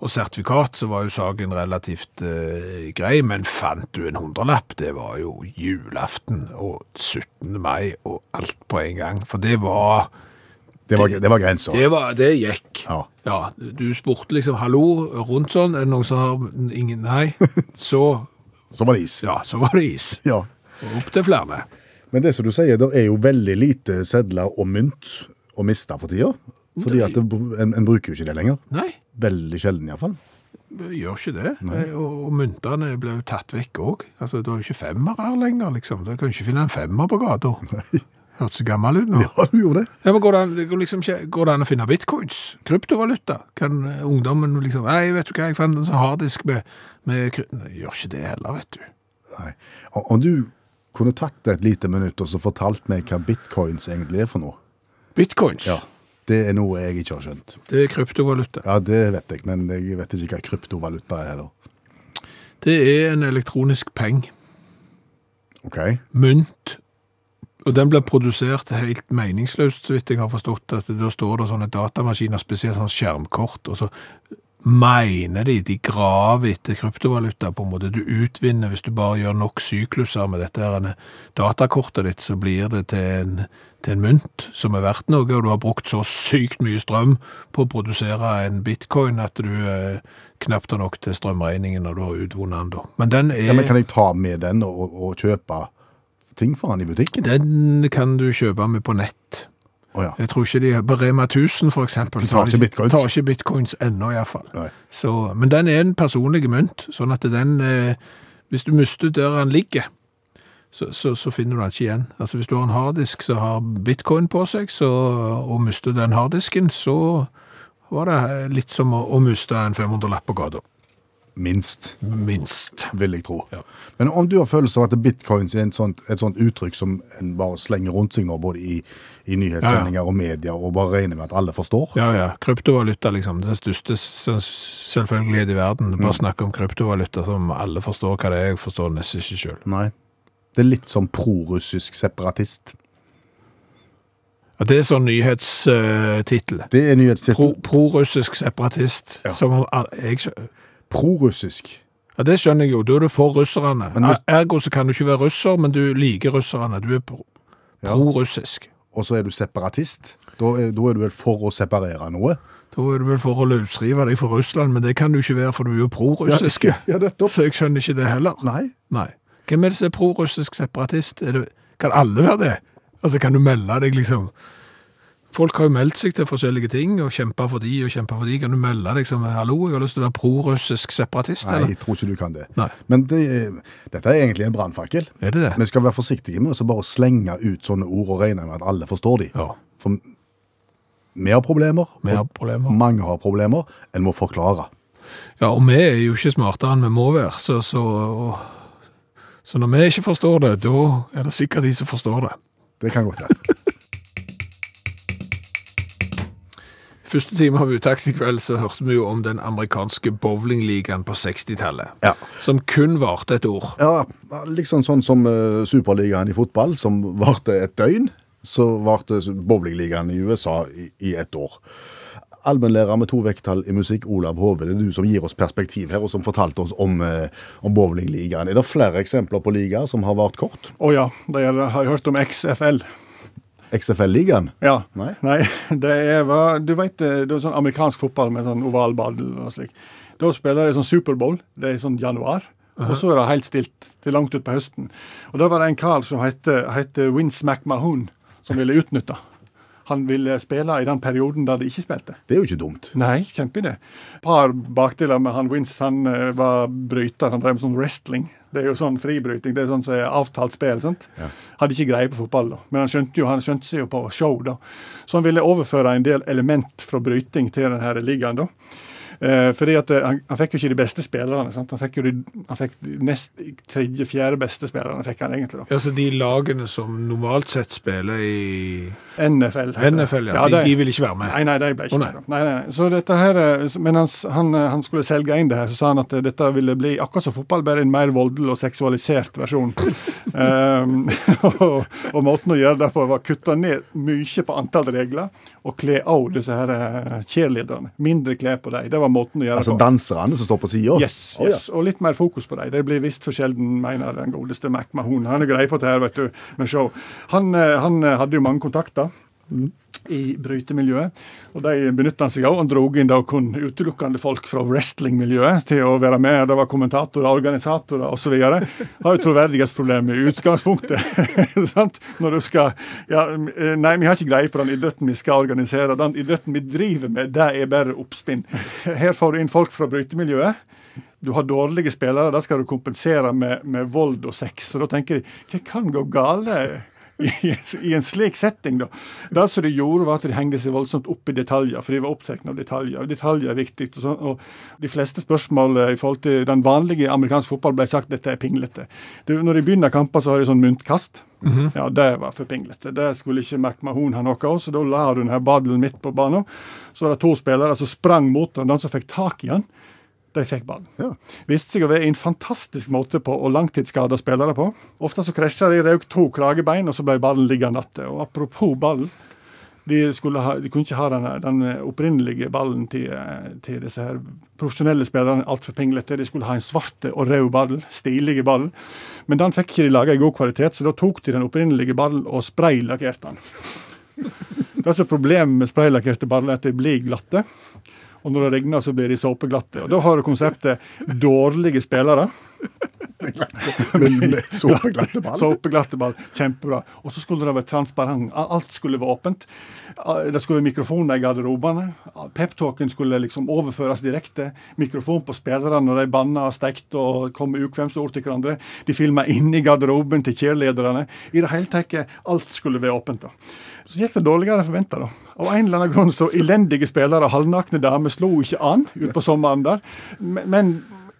B: og sertifikat, så var jo saken relativt eh, grei. Men fant du en hundrelapp, det var jo julaften og 17. mai og alt på en gang. For det var
C: Det var, det var grenser.
B: det, var, det gikk.
C: Ja.
B: Du spurte liksom 'hallo' rundt sånn. Er det noen som har Ingen? Nei. Så
C: Så var det is.
B: ja, så var det is.
C: Ja.
B: Og opp til flere.
C: Men det som du sier, det er jo veldig lite sedler og mynt å miste for tida. Fordi at det, en, en bruker jo ikke det lenger.
B: Nei,
C: Veldig sjelden [laughs] iallfall.
B: vi gjør ikke det. Eh, Og, og myntene ble jo tatt vekk òg. Altså, det er jo ikke femmer her lenger, liksom. Du kan jo ikke finne en femmer på gata. Hørtes gammel ut nå. Ja.
C: Ja, du gjorde det.
B: men går det, an, det går liksom ikke, går det an å finne bitcoins? Kryptovaluta? Kan eh, ungdommen liksom Nei, vet du hva, jeg fant en sånn harddisk med, med kry- Nei, Gjør ikke det heller, vet du.
C: Nei. Om- Om du kunne tatt deg et lite minutt og så fortalt meg hva bitcoins egentlig er for noe.
B: Bitcoins,
C: Det er noe jeg ikke har skjønt.
B: det er kryptovaluta.
C: Ja, det vet jeg, men jeg vet ikke hva kryptovaluta er heller.
B: Det er en elektronisk peng.
C: Ok.
B: mynt. Og den blir produsert helt meningsløst, så vidt jeg har forstått. at Da står det sånne datamaskiner, spesielt sånn skjermkort, og så mener de de graver etter kryptovaluta på en måte. Du utvinner, hvis du bare gjør nok sykluser med dette her, datakortet ditt, så blir det til en, til en mynt som er verdt noe, og du har brukt så sykt mye strøm på å produsere en bitcoin at du eh, knapt har nok til strømregningen når du har utvunnet den da. Men den er...
C: Ja, men Kan jeg ta med den og, og, og kjøpe ting for han i butikken?
B: Den kan du kjøpe med på nett.
C: Å ja.
B: Jeg tror ikke de På Rema 1000, for eksempel.
C: De tar ikke bitcoins.
B: Tar ikke bitcoins ennå, iallfall.
C: Nei.
B: Men den er en personlig mynt, sånn at den eh, Hvis du mister der den ligger, så, så, så finner du den ikke igjen. Altså Hvis du har en harddisk som har bitcoin på seg, så, og mister den harddisken, så var det eh, litt som å, å miste en 500-lapp på gata.
C: Minst.
B: Minst.
C: vil jeg tro.
B: Ja.
C: Men om du har følelse av at bitcoins er en sånt, et sånt uttrykk som en bare slenger rundt seg nå, både i, i nyhetssendinger og media, og bare regner med at alle forstår
B: Ja, ja. Kryptovaluta, liksom. Den største s- selvfølgelighet i verden.
C: Mm.
B: Bare snakke om kryptovaluta som alle forstår hva det er. Jeg forstår det nesten ikke sjøl.
C: Nei. Det er litt som prorussisk separatist.
B: Ja, det er sånn nyhetstittel.
C: Det er nyhetstittel.
B: Prorussisk separatist. Som om al- jeg, skjø-
C: Prorussisk.
B: ja, det skjønner jeg jo. Da er du for russerne.
C: Men hvis-
B: Ergo så kan du ikke være russer, men du liker russerne. Du er pro-
C: Ja.
B: prorussisk.
C: og så er du separatist. Da er, da er du vel for å separere noe?
B: Da er du vel for å løsrive deg fra Russland, men det kan du ikke være, for du er jo prorussisk.
C: Ja, nettopp.
B: så jeg skjønner ikke det heller.
C: Nei.
B: Nei. Hvem er det som er prorussisk separatist? Er det, kan alle være det? Altså, kan du melde deg, liksom? Folk har jo meldt seg til forskjellige ting, og kjempa for de og kjempa for de. Kan du melde deg som 'hallo, jeg har lyst til å være prorussisk separatist',
C: Nei,
B: eller?
C: jeg tror ikke du kan det.
B: Nei.
C: Men det, er- dette er egentlig en brannfakkel.
B: Er det det?
C: Vi skal være forsiktige med å så bare slenge ut sånne ord og regne med at alle forstår de.
B: Ja.
C: For vi har problemer,
B: Vi har
C: og
B: problemer.
C: mange har problemer. En må forklare.
B: Mm. Ja, og vi er jo ikke smartere enn vi må være, så, så, og, så når vi ikke forstår det, da er det sikkert de som forstår det.
C: Det kan godt være.
B: Første time av Utakt i kveld så hørte vi jo om den amerikanske bowlingligaen på 60-tallet.
C: Ja.
B: Som kun varte et år.
C: Ja, liksom sånn som eh, Superligaen i fotball, som varte et døgn, så varte bowlingligaen i USA i, i et år. Allmennlærer med to vekttall i musikk, Olav Hove, det er du som gir oss perspektiv her, og som fortalte oss om, eh, om bowlingligaen. Er det flere eksempler på ligaer som har vart kort?
F: Å ja, det er, har jeg hørt om XFL.
C: XFL-ligaen?
F: Ja.
C: Nei.
F: det er hva Du vet, det er sånn amerikansk fotball med sånn ovalball og slik. Da spiller de sånn Superbowl. Det er sånn januar. Og så er det helt stilt til langt utpå høsten. Og da var det en kar som hette, hette Vince McMahon, som ville utnytte. Han ville spille i den perioden der de ikke spilte.
C: Det er jo ikke dumt.
F: Nei, kjempeidé. Par bakdeler med han Vince. Han eh, var bryter. Han drev med sånn wrestling. Det er jo sånn fribryting. Det er sånn som er avtalt spill. sant? Hadde ikke greie på fotball, da. Men han skjønte jo, han skjønte seg jo på show, da. Så han ville overføre en del element fra bryting til denne ligaen, da. Eh, fordi at eh, han, han fikk jo ikke de beste spillerne. sant? Han fikk jo de, han fikk de nest, tredje-fjerde beste spillerne. fikk han egentlig da.
B: Altså de lagene som normalt sett spiller i
F: NFL. heter det.
B: NFL, ja. De-
F: det-
B: de vil ikke være med.
F: Nei, nei, de ble ikke
B: Å, nei.
F: med. da. Nei, nei, nei. Så dette her, eh, s- men han, s- han, eh, han skulle selge inn det her, så sa han at eh, dette ville bli akkurat som fotball, bare en mer voldelig og seksualisert
B: [laughs]
F: versjon. Ehm, [laughs] og, og måten å gjøre det på var å kutte ned mye på antall regler, og kle av disse her eh, cheerleaderne. Mindre klær på dem. Det var måten å gjøre
C: Altså
F: det på.
C: danserne som står på sida?
F: Yes, yes, og litt mer fokus på dem. De blir visst for sjelden, mener den godeste Mac Mahon. Han er grei på det her, vet du. Med show. Han, eh, han eh, hadde jo mange kontakter. I brytemiljøet. Og de benytta han seg av. Han dro inn da kun utelukkende folk fra wrestlingmiljøet til å være med. Det var kommentatorer, organisatorer osv. Har jo troverdighetsproblem i utgangspunktet. [laughs] sant? Når du skal ja, eh, Nei, vi har ikke greie på den idretten vi skal organisere. Den idretten vi driver med, det er bare oppspinn. Her får du inn folk fra brytemiljøet du har dårlige spillere, da skal du kompensere med, med vold og sex. Og da tenker de hva kan gå gale i, i en slik setting, da? Det som de gjorde, var at de hengte seg voldsomt opp i detaljer, for de var opptatt av detaljer. Detaljer er viktig. Og, sånn, og de fleste spørsmål eh, i forhold til den vanlige amerikanske fotball ble sagt dette er pinglete. Du, når de begynner kamper, så har de sånn myntkast. Ja, det var for pinglete. Det skulle ikke McMahon ha noe av, så da la du denne badelen midt på banen. Så var det to spillere som sprang mot den, den som fikk tak i han. De fikk ballen. Viste seg å være en fantastisk måte på å langtidsskade spillere på. Ofte så krasja de, røk to kragebein, og så ble ballen liggende igjen. Og apropos ballen. De, skulle ha, de kunne ikke ha den, den opprinnelige ballen til, eh, til disse her profesjonelle spillerne altfor pinglete. De skulle ha en svart og rød ball, stilige ball. Men den fikk ikke de laga i god kvalitet, så da tok de den opprinnelige ballen og spraylakkerte den. [laughs] Det som er problemet med spraylakkerte baller, er at de blir glatte. Og når det regner, så blir de såpeglatte. Og da har du konseptet dårlige spillere.
C: Men [laughs]
F: [laughs]
C: med såpeglatte ball?
F: Såpeglatte ball. Kjempebra. Og så skulle det være transparent. Alt skulle være åpent. Det skulle være mikrofoner i garderobene. Peptalken skulle liksom overføres direkte. Mikrofon på spillerne når de banna og stekte og kom med ukvemsord til hverandre. De filma inni garderoben til cheerleaderne. I det hele tatt alt skulle være åpent. da. Så gikk det dårligere enn forventa, da. Av en eller annen grunn så elendige spillere, halvnakne damer, slo ikke an utpå sommeren der. Men, men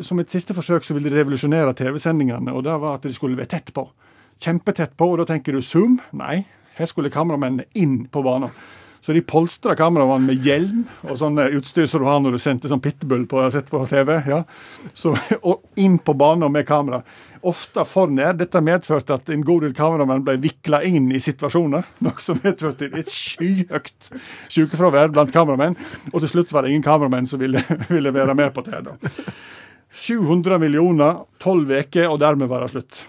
F: som et siste forsøk så ville de revolusjonere TV-sendingene, og det var at de skulle være tett på. Kjempetett på, og da tenker du Zoom? Nei, her skulle kameramennene inn på banen. Så de polstra kameramannen med hjelm og sånn utstyr som du har når du sendte sånn pitbull på, jeg har sett på TV. ja. Så, [laughs] og inn på banen med kamera. Ofte for ned. Dette medførte at en god del kameramenn ble vikla inn i situasjoner. Noe som medførte et skyhøyt sykefravær blant kameramenn. Og til slutt var det ingen kameramenn som ville, [laughs] ville være med på det. da. 700 millioner, 12 uker, og dermed var det slutt.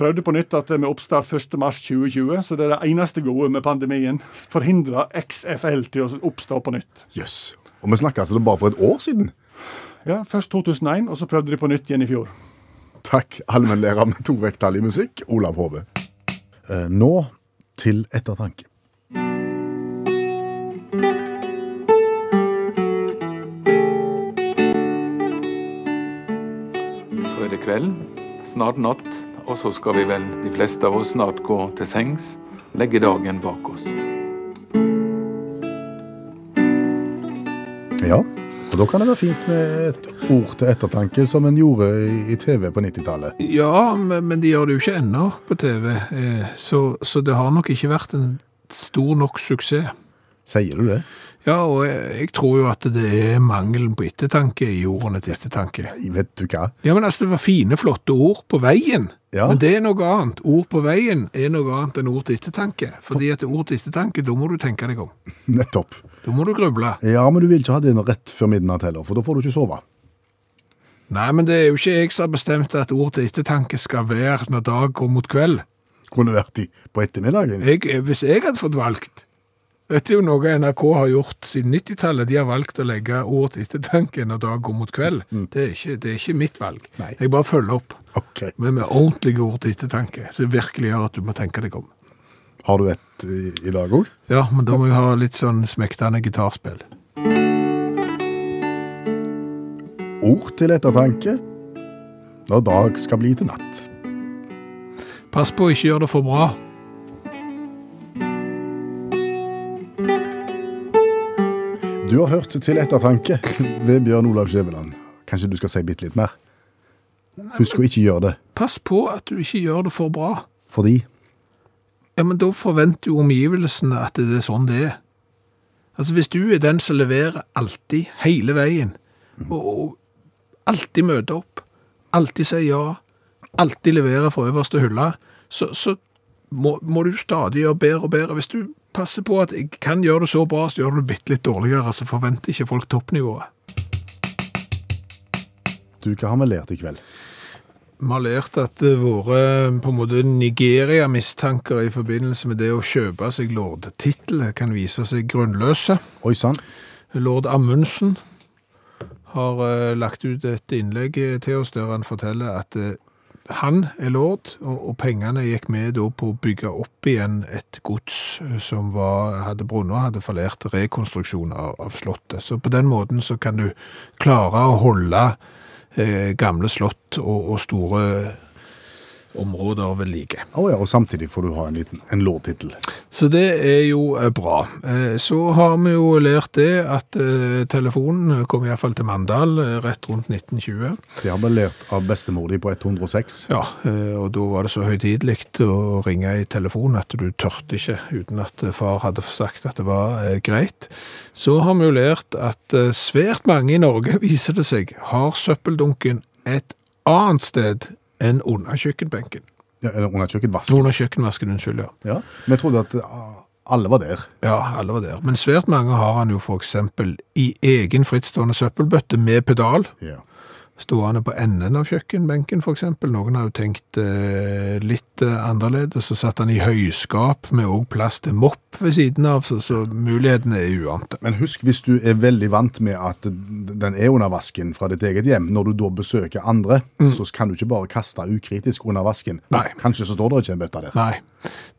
F: Prøvde på nytt at det med oppstart 1.3.2020, så det er det eneste gode med pandemien. Forhindra XFL til å oppstå på nytt.
C: Jøss. Og vi snakker altså bare for et år siden.
F: Ja, Først 2001, og så prøvde de på nytt igjen i fjor.
C: Takk, allmennlærer med to vekttall i musikk, Olav Hove. Eh, Nå til ettertanke.
H: Så er det kveld, snart natt, og så skal vi vel, de fleste av oss, snart gå til sengs, legge dagen bak oss.
C: Ja, og da kan det være fint med et ord til ettertanke, som en gjorde i- i TV på 90-tallet.
B: Ja, men men de gjør det jo ikke ennå på TV, eh, så, så det har nok ikke vært en stor nok suksess.
C: Sier du det?
B: Ja, og jeg, jeg tror jo at det er mangelen på ettertanke i ordene til ettertanke.
C: Nei, vet du hva? [laughs]
B: Ja, men altså, det var fine, flotte ord på veien.
C: Ja.
B: Men det er noe annet. Ord på veien er noe annet enn ord til ettertanke. Fordi at ord til ettertanke, da må du tenke deg om.
C: Nettopp.
B: Da må du gruble.
C: Ja, men du vil ikke ha den rett før midnatt heller, for da får du ikke sove.
B: Nei, men det er jo ikke jeg som har bestemt at ord til ettertanke skal være når dag går mot kveld.
C: Kunne vært i på ettermiddagen.
B: Jeg, hvis jeg hadde fått valgt Dette er jo noe NRK har gjort siden 90-tallet. De har valgt å legge ord til ettertanke når dag går mot kveld. Det, er ikke, det er ikke mitt valg.
C: Mm. Nei.
B: Jeg bare følger opp.
C: Ok.
B: Men med ordentlige ord til ettertanke, som virkelig gjør at du må tenke deg om.
C: Har du et i, i dag òg?
B: Ja, men da må vi ha litt sånn smektende gitarspill.
C: Ord til ettertanke når dag skal bli til natt.
B: Pass på å ikke gjøre det for bra.
C: Du har hørt Til ettertanke ved Bjørn Olav Skjæveland. Kanskje du skal si bitte litt mer? Husk å ikke gjøre det,
B: Pass på at du ikke gjør det for bra.
C: fordi
B: Ja, men da forventer jo omgivelsene at det er sånn det er. Altså, hvis du er den som leverer alltid, hele veien, og, og alltid møter opp, alltid sier ja, alltid leverer fra øverste hylla, så, så må, må du stadig gjøre bedre og bedre. Hvis du passer på at jeg kan gjøre det så bra, så gjør du det bitte litt dårligere, så forventer ikke folk toppnivået.
C: du hva har vi lært i kveld?
B: Vi har lært at eh, våre på en måte Nigeria-mistanker i forbindelse med det å kjøpe seg lordtittel kan vise seg grunnløse.
C: Oi sann,
B: Lord Amundsen har eh, lagt ut et innlegg eh, til oss der han forteller at eh, han er lord, og, og pengene gikk med da på å bygge opp igjen et gods eh, som var, hadde brunnet, hadde fallert rekonstruksjon av, av slottet. Så på den måten så kan du klare å holde eh, gamle slott og, og store områder ved like.
C: Å ja, og samtidig får du ha en liten en lårtittel.
B: Så det er jo eh, bra. Eh, Så har vi jo lært det at eh, telefonen kom iallfall til Mandal eh, rett rundt 1920.
C: Det har vi lært av bestemor di på 106.
B: Ja, eh, og da var det så høytidelig å ringe i telefon at du tørte ikke uten at eh, far hadde sagt at det var eh, greit. Så har vi jo lært at eh, svært mange i Norge, [laughs] viser det seg, har søppeldunken et annet sted enn under kjøkkenbenken.
C: Ja, eller under kjøkkenvasken.
B: Under kjøkkenvasken, unnskyld, ja.
C: Ja, vi trodde at ah, alle var der.
B: Ja, alle var der. Men svært mange har han jo for eksempel i egen frittstående søppelbøtte med pedal,
C: Ja.
B: stående på enden av kjøkkenbenken for eksempel. Noen har jo tenkt eh, litt eh, annerledes, så satt han i høyskap med også plass til mopp ved siden av, så, så mulighetene er uante.
C: Men husk, hvis du er veldig vant med at den er under vasken fra ditt eget hjem, når du da besøker andre, så kan du ikke bare kaste ukritisk under vasken.
B: Nei.
C: Kanskje så står det ikke en bøtte der.
B: Nei,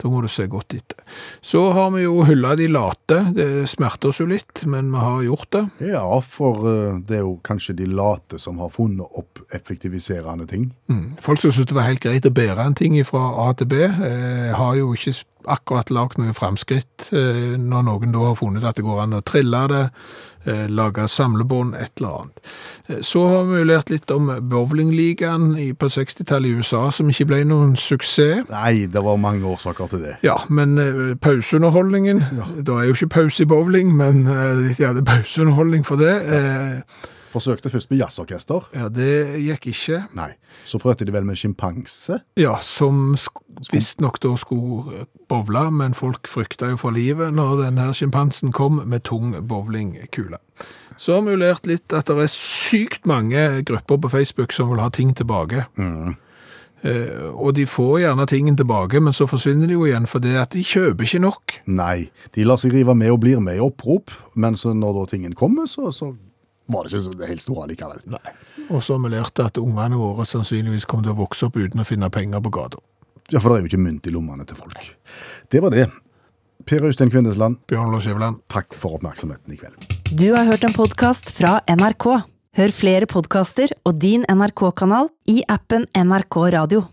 B: da må du se godt etter. Så har vi jo hylla de late. Det smerter oss jo litt, men vi har gjort det.
C: Ja, for eh, det er jo kanskje de late som har funnet opp effektiviserende ting.
B: Folk som syntes det var helt greit å bære en ting fra A til B, eh, har jo ikke akkurat lagd noen framskritt eh, når noen da har funnet at det går an å trille det, eh, lage samlebånd, et eller annet. Eh, så har vi jo lært litt om bowlingligaen i- på 60-tallet i USA, som ikke ble noen suksess.
C: Nei, det var mange årsaker til det.
B: Ja, men eh, pauseunderholdningen Da er jo ikke pause i bowling, men eh, de hadde pauseunderholdning for det. Eh,
C: Forsøkte først med jazzorkester.
B: ja, det gikk ikke.
C: Nei. Så prøvde de vel med sjimpanse.
B: Ja, som visstnok da skulle bowle, men folk frykta jo for livet når denne sjimpansen kom med tung bowlingkule. Så har vi jo lært litt at det er sykt mange grupper på Facebook som vil ha ting tilbake. Eh, og de får gjerne tingen tilbake, men så forsvinner de jo igjen fordi at de kjøper ikke nok.
C: Nei, de lar seg rive med og blir med i opprop, men så når da tingen kommer, så, så var det ikke så helt store likevel. Nei.
B: Og så har vi lært at ungene våre sannsynligvis kommer til å vokse opp uten å finne penger på gata.
C: Ja, for det er jo ikke mynt i lommene til folk. Det var det. Per Øystein Kvindesland,
B: Bjørn Lars Skjæveland.
C: takk for oppmerksomheten i kveld.
A: Du har hørt en podkast fra NRK. Hør flere podkaster og din NRK-kanal i appen NRK Radio.